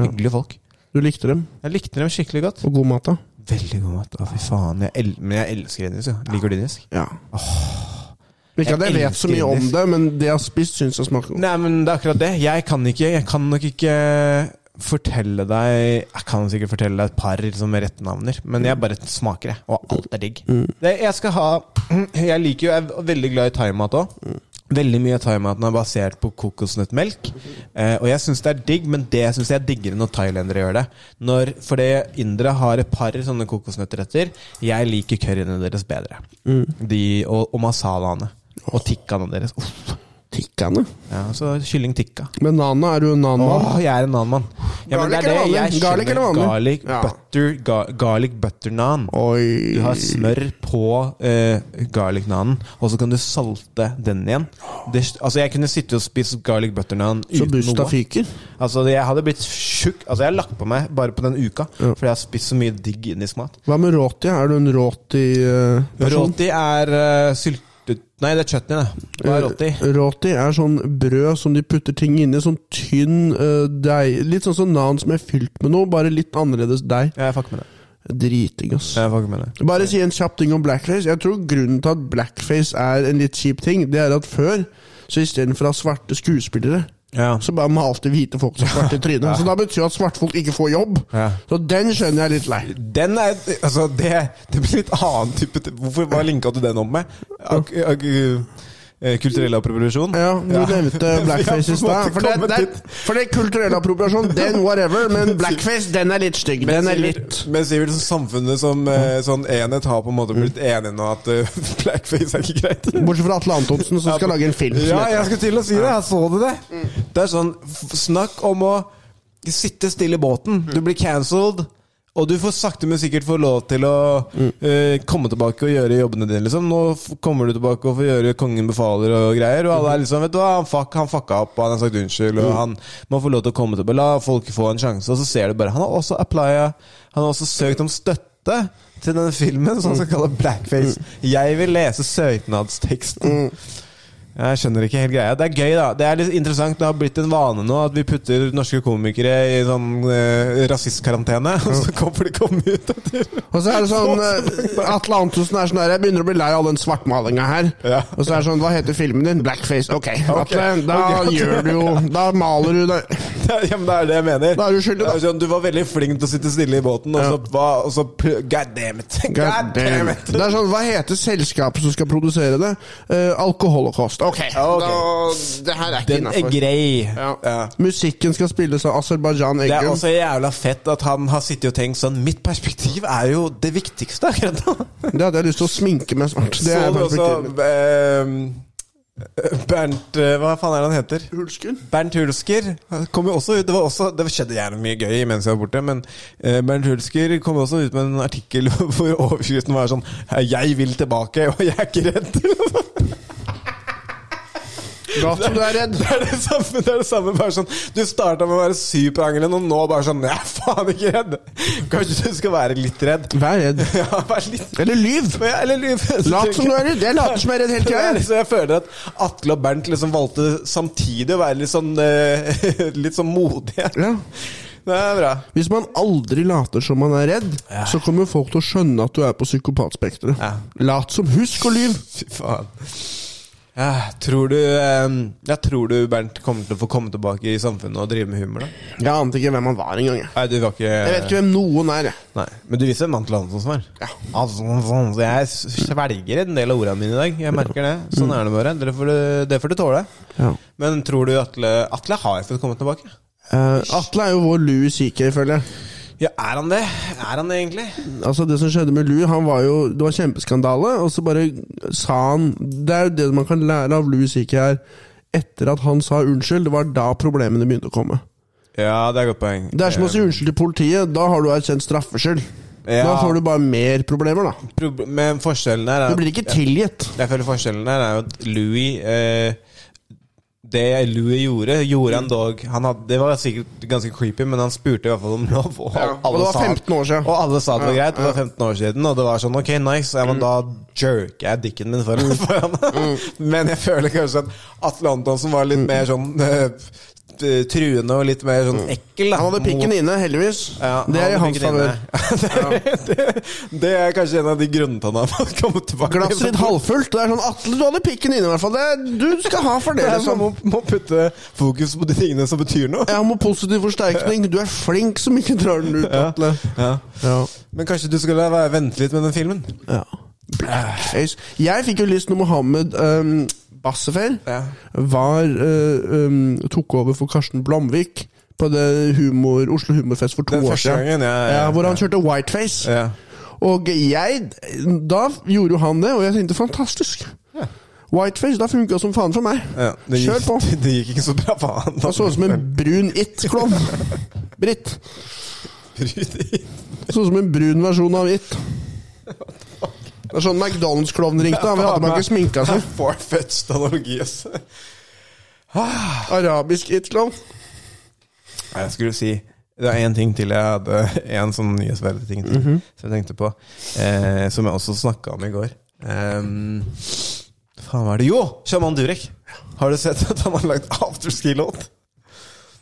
Speaker 2: hyggelige folk.
Speaker 3: Du likte dem,
Speaker 2: Jeg likte dem skikkelig godt.
Speaker 3: og god mat, da?
Speaker 2: Veldig god mat. Å, fy faen. Jeg el men jeg elsker indisk. Ja. Liker du indisk?
Speaker 3: Ja. Ikke at jeg vet så mye om det, men det jeg har spist, syns jeg smaker godt.
Speaker 2: Nei, men det er akkurat det. Jeg kan ikke Jeg kan nok ikke fortelle deg Jeg kan sikkert fortelle deg et par liksom, med rette navner, men jeg bare smaker, jeg. Og alt er digg. Det, jeg skal ha Jeg liker jo Jeg er veldig glad i thaimat òg. Veldig mye av thaimaten er basert på kokosnøttmelk. Eh, og jeg syns det er digg, men det syns jeg er diggere når thailendere gjør det. Når, fordi indere har et par sånne kokosnøttretter. Jeg liker curryene deres bedre. De, og, og masalaene. Og tikkaene deres. Uff.
Speaker 3: Tikkane.
Speaker 2: Ja, så kylling tikka.
Speaker 3: Men nana er jo en annen mann.
Speaker 2: Åh, jeg er en annen mann. Ja, men
Speaker 3: Garlic
Speaker 2: det er det
Speaker 3: eller vanlig?
Speaker 2: jeg
Speaker 3: Garlic
Speaker 2: skjønner.
Speaker 3: eller vanlig?
Speaker 2: Garlic
Speaker 3: Ja.
Speaker 2: butter, ga, garlic butter nan.
Speaker 3: Oi.
Speaker 2: Du har smør på eh, garlic nanen, og så kan du salte den igjen. Det, altså Jeg kunne sitte og spise garlic butter nan
Speaker 3: Så
Speaker 2: uten
Speaker 3: busta
Speaker 2: noe.
Speaker 3: fyker.
Speaker 2: Altså Jeg hadde blitt tjukk. Altså Jeg har lagt på meg bare på den uka, fordi jeg har spist så mye digg indisk mat.
Speaker 3: Hva med roti? Er du en eh, roti-person?
Speaker 2: Roti er uh, syltet Nei, det er chutney, det. Hva
Speaker 3: Eh,
Speaker 2: er roti?
Speaker 3: Roti er sånn brød som de putter ting inni. Sånn tynn eh, deig. Litt sånn som nan som er fylt med noe, bare litt annerledes deig.
Speaker 2: Jeg fucker med det.
Speaker 3: Driting, ass.
Speaker 2: Jeg fucker med det.
Speaker 3: Bare si en kjapp ting om blackface. Jeg tror grunnen til at blackface er en litt kjip ting, det er at før, så istedenfor å ha svarte skuespillere,
Speaker 2: Ja.
Speaker 3: så bare malte hvite folk som svarte i trynet. Så da betyr det at svarte folk ikke får jobb.
Speaker 2: Ja.
Speaker 3: Så den skjønner jeg er litt lei.
Speaker 2: Den er Altså, det, det blir litt annen type t- Hvorfor hva linka du den om med? Ak, ak, eh, kulturell appropriasjon?
Speaker 3: Ja, du nevnte blackface i stad. For, det- det- for det er kulturell appropriasjon, den whatever, men blackface, den er litt stygg. Den er litt
Speaker 2: Men sier vel samfunnet som eh, sånn enhet har på en måte blitt enige nå at eh, blackface er ikke greit?
Speaker 3: Bortsett fra Atle Antonsen, som skal lage en film. som
Speaker 2: Ja,
Speaker 3: heter-
Speaker 2: jeg skulle til å si det. Jeg så det det. Det er sånn f- Snakk om å sitte stille i båten. Du blir cancelled. Og du får sakte, men sikkert få lov til å
Speaker 3: Mm.
Speaker 2: eh, komme tilbake og gjøre jobbene dine. liksom Nå f kommer du tilbake og får gjøre 'Kongen befaler' og greier. Og alle er liksom Vet du hva, han, fuck, han fucka opp, og han har sagt unnskyld,
Speaker 3: Mm.
Speaker 2: og han må få lov til å komme tilbake. La folk få en sjanse. Og så ser du bare Han har også applya. Han har også søkt om støtte støtte til denne filmen, som han skal kalle blackface.
Speaker 3: Mm.
Speaker 2: Jeg vil lese søknadsteksten. Jeg skjønner ikke helt greia. Det er gøy, da. Det er litt interessant. Det har blitt en vane nå at vi putter norske komikere i sånn eh, rasistkarantene, og så kommer de komme ut etter.
Speaker 3: Og så er det sånn eh, Atle Antonsen er sånn der Jeg begynner å bli lei av all den svartmalinga her.
Speaker 2: Ja.
Speaker 3: Og så er det sånn Hva heter filmen din? Blackface. Ok, Atle. Da
Speaker 2: Ok, Atle.
Speaker 3: gjør du jo Da maler du det.
Speaker 2: Ja, men det er det jeg mener.
Speaker 3: Da er du skyldig, da.
Speaker 2: Det er sånn, du var veldig flink til å sitte stille i båten, og så, hva, og så pr- God damn it! God damn it!
Speaker 3: Det er sånn Hva heter selskapet som skal produsere det? Eh, alkoholokost. Ok.
Speaker 2: Ja, ok.
Speaker 3: Da, det her er ikke
Speaker 2: Den er
Speaker 3: innafor.
Speaker 2: grei.
Speaker 3: Ja.
Speaker 2: Ja.
Speaker 3: Musikken skal spilles av Aserbajdsjan
Speaker 2: Det er
Speaker 3: Eggum.
Speaker 2: også jævla fett at han har sittet og tenkt sånn Mitt perspektiv er jo det viktigste akkurat nå.
Speaker 3: Det hadde jeg lyst til å sminke meg snart. Det
Speaker 2: Så
Speaker 3: er
Speaker 2: du også
Speaker 3: perspektivet.
Speaker 2: eh, Bernt eh, Hva faen er det han heter?
Speaker 3: Hulsker?
Speaker 2: Bernt Hulsker kom jo også ut Det, var også, det skjedde gjerne mye gøy mens jeg var borte, men eh, Bernt Hulsker kom også ut med en artikkel hvor overskriften var sånn 'Jeg vil tilbake, og jeg er ikke redd'.
Speaker 3: Lat som du er redd.
Speaker 2: Det er det samme, det er det samme bare sånn Du starta med å være superangelen, og nå bare sånn Jeg er faen ikke redd! Kanskje du skal være litt redd?
Speaker 3: Vær redd.
Speaker 2: Ja, vær litt
Speaker 3: Eller lyv!
Speaker 2: Men jeg- eller lyv.
Speaker 3: Lat som du er redd. Jeg later som jeg er redd hele
Speaker 2: Det er
Speaker 3: tida.
Speaker 2: liksom, jeg føler at Atle og Bernt liksom valgte samtidig å være litt sånn eh, Litt sånn modige.
Speaker 3: Ja.
Speaker 2: Det er bra.
Speaker 3: Hvis man aldri later som man er redd,
Speaker 2: Ja.
Speaker 3: så kommer jo folk til å skjønne at du er på psykopatspekteret.
Speaker 2: Ja.
Speaker 3: Lat som husk og lyv!
Speaker 2: Fy faen. Ja, tror du eh, Jeg tror du Bernt kommer til å få komme tilbake i samfunnet og drive med humor, da?
Speaker 3: Jeg ante ikke hvem han var engang. jeg.
Speaker 2: Nei, du var ikke
Speaker 3: Jeg vet ikke hvem noen er. jeg.
Speaker 2: Nei, Men du visste hvem Antel Hansen var?
Speaker 3: Ja.
Speaker 2: Altså, sånn, så jeg svelger en del av ordene mine i dag. Jeg merker det. Sånn er det bare. Det får du, det får du tåle.
Speaker 3: Ja.
Speaker 2: Men tror du Atle Atle har fått komme tilbake?
Speaker 3: Eh, Atle er jo vår Louis CK, føler jeg.
Speaker 2: Ja, Er han det? Er han det egentlig?
Speaker 3: Altså Det som skjedde med Lou, han var jo det var kjempeskandale, og så bare sa han Det er jo det man kan lære av Louis CK her. Etter at han sa unnskyld, det var da problemene begynte å komme.
Speaker 2: Ja, det er et godt poeng.
Speaker 3: Det er som å si unnskyld til politiet. Da har du erkjent straffskyld.
Speaker 2: Ja.
Speaker 3: Da får du bare mer problemer, da.
Speaker 2: Prob- Men forskjellen her
Speaker 3: Du
Speaker 2: er
Speaker 3: blir ikke tilgitt.
Speaker 2: Jeg føler forskjellen her er jo at Louis eh, Det Louis gjorde, gjorde han dog han hadde, Det var sikkert ganske creepy, men han spurte i hvert fall om lov. Og,
Speaker 3: Ja, og det var
Speaker 2: sa-
Speaker 3: 15 år siden.
Speaker 2: Og alle sa det var
Speaker 3: Ja, Mm.
Speaker 2: greit. og Det var 15 år siden, og det var sånn Ok, nice. Ja, men da jerker jeg dikken min foran. foran. men jeg føler kanskje at Atle Antonsen var
Speaker 3: Mm.
Speaker 2: litt mer sånn eh, t- truende og litt mer sånn ekkel. da,
Speaker 3: Mm. Han hadde
Speaker 2: mot-
Speaker 3: pikken inne, heldigvis.
Speaker 2: Ja,
Speaker 3: det er i
Speaker 2: han
Speaker 3: hans
Speaker 2: fikk det
Speaker 3: favør.
Speaker 2: inne. det, det er kanskje en av de grunnene til at han har kommet tilbake.
Speaker 3: Glasset ditt halvfullt. Det er sånn Atle, du hadde pikken inne, i hvert fall. Det er, du skal ha for det,
Speaker 2: Det er man
Speaker 3: liksom.
Speaker 2: må, må putte fokus på de tingene som betyr noe.
Speaker 3: Ja, med positiv forsterkning. Du er flink som ikke drar den ut, Atle.
Speaker 2: Ja.
Speaker 3: Ja.
Speaker 2: Men kanskje du skulle la være- vente litt med den filmen?
Speaker 3: ja. Blackface. Jeg fikk jo lyst når Mohammed um, Bassefer
Speaker 2: Ja.
Speaker 3: var eh, um, tok over for Karsten Blomvik på det humor, Oslo Humorfest for to
Speaker 2: Den
Speaker 3: år
Speaker 2: første
Speaker 3: siden.
Speaker 2: gangen, ja, ja, ja.
Speaker 3: hvor han kjørte whiteface.
Speaker 2: Ja.
Speaker 3: Og jeg, da gjorde jo han det, og jeg tenkte fantastisk. Whiteface, da funka som faen for meg.
Speaker 2: Ja, det gikk,
Speaker 3: Kjør på.
Speaker 2: Det gikk ikke så bra for han.
Speaker 3: Han så ut som en brun It-klovn. Britt. Så ut som en brun versjon av It. Det er sånn McDonald's-klovn ringte. Han hadde bare ikke sminka seg.
Speaker 2: Farfetched analogi, altså. ass.
Speaker 3: Arabisk It-klovn.
Speaker 2: Nei, Jeg skulle si det er én ting til jeg hadde En sånn nyhetsverdig ting til
Speaker 3: Mhm.
Speaker 2: som jeg tenkte på. Eh, som jeg også snakka om i går. Um, faen, hva er det Jo! Sjaman Durek! Har du sett at han har lagt afterski-låt?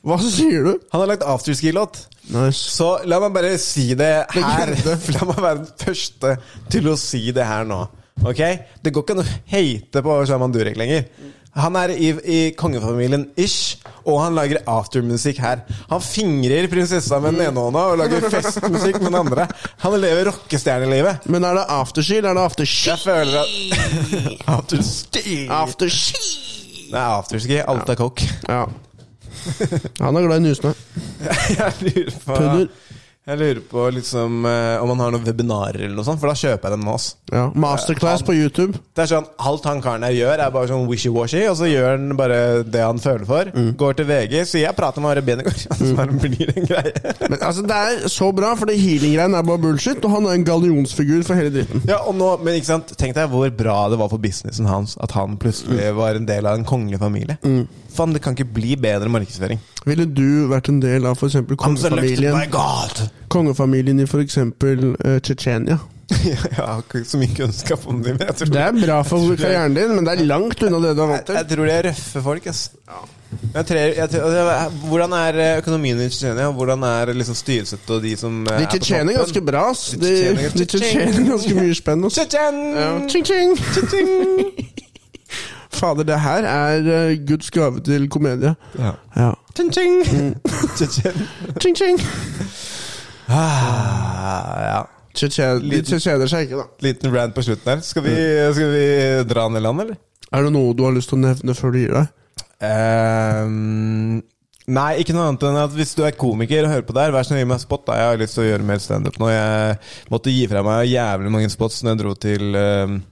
Speaker 3: Hva sier du?
Speaker 2: Han har lagt afterski-låt.
Speaker 3: Nice.
Speaker 2: Så la meg bare si det her.
Speaker 3: Det glemte.
Speaker 2: La meg være den første til å si det her nå. Ok? Det går ikke an å hate på Shaman Durek lenger. Han er i, i kongefamilien ish, og han lager aftermusikk her. Han fingrer prinsessa med den ene hånda og lager festmusikk med den andre. Han lever rockestjernelivet.
Speaker 3: Men er det afterski, eller er det afterski?
Speaker 2: Jeg føler at Afterski!
Speaker 3: Afterski!
Speaker 2: Nei, afterski. Alt er kokk.
Speaker 3: Ja. Han er glad i nusene.
Speaker 2: Jeg lurer på
Speaker 3: Pudder.
Speaker 2: Jeg lurer på liksom eh, om han har noen webinarer eller noe sånt, for da kjøper jeg dem med oss.
Speaker 3: Ja. Masterclass på YouTube.
Speaker 2: Det er sånn, Alt han karen her gjør, er bare sånn wishy-washy, og så gjør han bare det han føler for.
Speaker 3: Mm.
Speaker 2: Går til VG, sier 'jeg prater med Are Benegård', og så bare blir det en greie.
Speaker 3: Men altså, Det er så bra, for det healing-greien er bare bullshit, og han er en gallionsfigur for hele dritten.
Speaker 2: Ja, og nå, men
Speaker 3: Mm.
Speaker 2: ikke sant, Tenk deg hvor bra det var for businessen hans at han plutselig var en del av en kongelig familie. Faen, det kan ikke bli bedre markedsføring.
Speaker 3: Ville du vært en del av for eksempel
Speaker 2: by
Speaker 3: kongefamilien,
Speaker 2: God!
Speaker 3: kongefamilien i for eksempel eh, Tsjetsjenia?
Speaker 2: jeg har ikke så mye kunnskap om det, men jeg tror
Speaker 3: Det er bra for karrieren din, men det er langt unna det du er vant
Speaker 2: Jeg,
Speaker 3: til.
Speaker 2: jeg tror de er røffe folk, ass. Jeg trer, jeg trer, jeg- hvordan er eh, økonomien i Tsjetsjenia? Hvordan er liksom styresett og de som eh,
Speaker 3: De
Speaker 2: er på
Speaker 3: tjener
Speaker 2: toppen?
Speaker 3: ganske bra, ass. De,
Speaker 2: tjener-
Speaker 3: de tjener ganske mye spenn. ass.
Speaker 2: Tsjetsjen!
Speaker 3: Ja. Tjing, tjing. Fader, det her er eh, Guds gave til komedie.
Speaker 2: Ja.
Speaker 3: Ja.
Speaker 2: Tjing, tjing.
Speaker 3: Mm.
Speaker 2: Tsjetsjen.
Speaker 3: Tjing, tjing.
Speaker 2: Ah, ja.
Speaker 3: Tsjetsjen- De
Speaker 2: Liten-
Speaker 3: tsjetsjener seg ikke, da.
Speaker 2: Liten rant på slutten her. Skal vi, skal vi dra ned land, eller?
Speaker 3: Er det noe du har lyst til å nevne før du gir deg?
Speaker 2: Ehm, nei, ikke noe annet enn at hvis du er komiker og hører på der, vær så snill gi meg spot. Da. Jeg har lyst til å gjøre mer standup nå. Jeg måtte gi fra meg jævlig mange spots når jeg dro til ehm,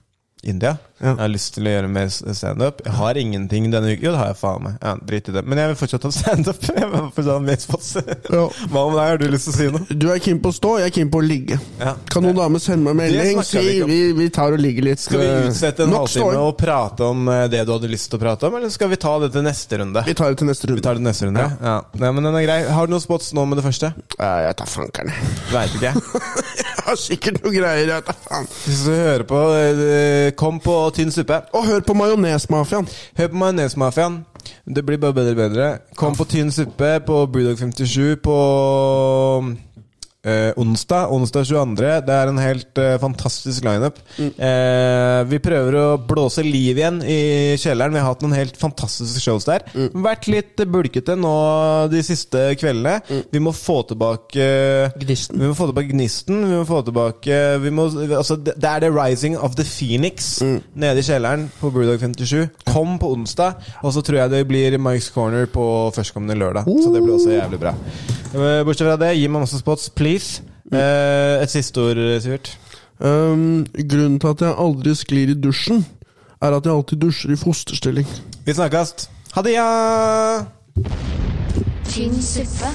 Speaker 2: India.
Speaker 3: Ja.
Speaker 2: Jeg har lyst til å gjøre mer standup. Jeg har ingenting denne uken. Jo, det har jeg faen meg. Ja, drit i det. Men jeg vil fortsatt ha standup. Jeg vil fortsatt ha mer spots.
Speaker 3: Ja.
Speaker 2: Hva med deg? Har du lyst til å si noe?
Speaker 3: Du er keen på å stå, jeg er keen på å ligge.
Speaker 2: Ja.
Speaker 3: Kan noen damer sende meg en
Speaker 2: Det
Speaker 3: melding? Si
Speaker 2: snakker vi ikke om.
Speaker 3: vi, vi tar og ligger litt.
Speaker 2: Skal vi
Speaker 3: eh,
Speaker 2: utsette en
Speaker 3: nok
Speaker 2: halvtime
Speaker 3: ståing.
Speaker 2: og prate om eh, det du hadde lyst til å prate om, eller skal vi ta det til neste runde?
Speaker 3: Vi tar det til neste
Speaker 2: Vi
Speaker 3: runde.
Speaker 2: tar det til neste runde, ja. ja. Nei, men den er grei. Har du noen spots nå med det første?
Speaker 3: Eh, jeg tar fankeren, jeg.
Speaker 2: Veit ikke.
Speaker 3: Jeg har sikkert noe greier. Jeg tar faen.
Speaker 2: Hvis du hører på, eh, kom på Tynn suppe.
Speaker 3: Og hør på Majonesmafiaen.
Speaker 2: Hør på Majonesmafiaen. Det blir bare bedre og bedre. Kom på Tynn suppe på Brewdog57 på eh, onsdag. Onsdag 22. Det er en helt eh, fantastisk lineup. Eh, vi prøver å blåse liv igjen i kjelleren. Vi har hatt noen helt fantastiske shows der. Vært litt bulkete nå de siste kveldene. Vi må få tilbake
Speaker 3: Gnisten.
Speaker 2: Vi må få tilbake gnisten. Vi må få tilbake vi må, altså, Det det er The Rising of the Phoenix nede i kjelleren på Brewdog 57. Kom på onsdag, og så tror jeg det blir Mike's Corner på førstkommende lørdag. Så det blir også jævlig bra. Eh, Bortsett fra det, gi meg masse spots, please. Eh, et siste ord, Sivert.
Speaker 3: Um, grunnen til at jeg aldri sklir i dusjen, er at jeg alltid dusjer i fosterstilling.
Speaker 2: Vi snakkes. Ha det, ja!
Speaker 1: Tynn suppe.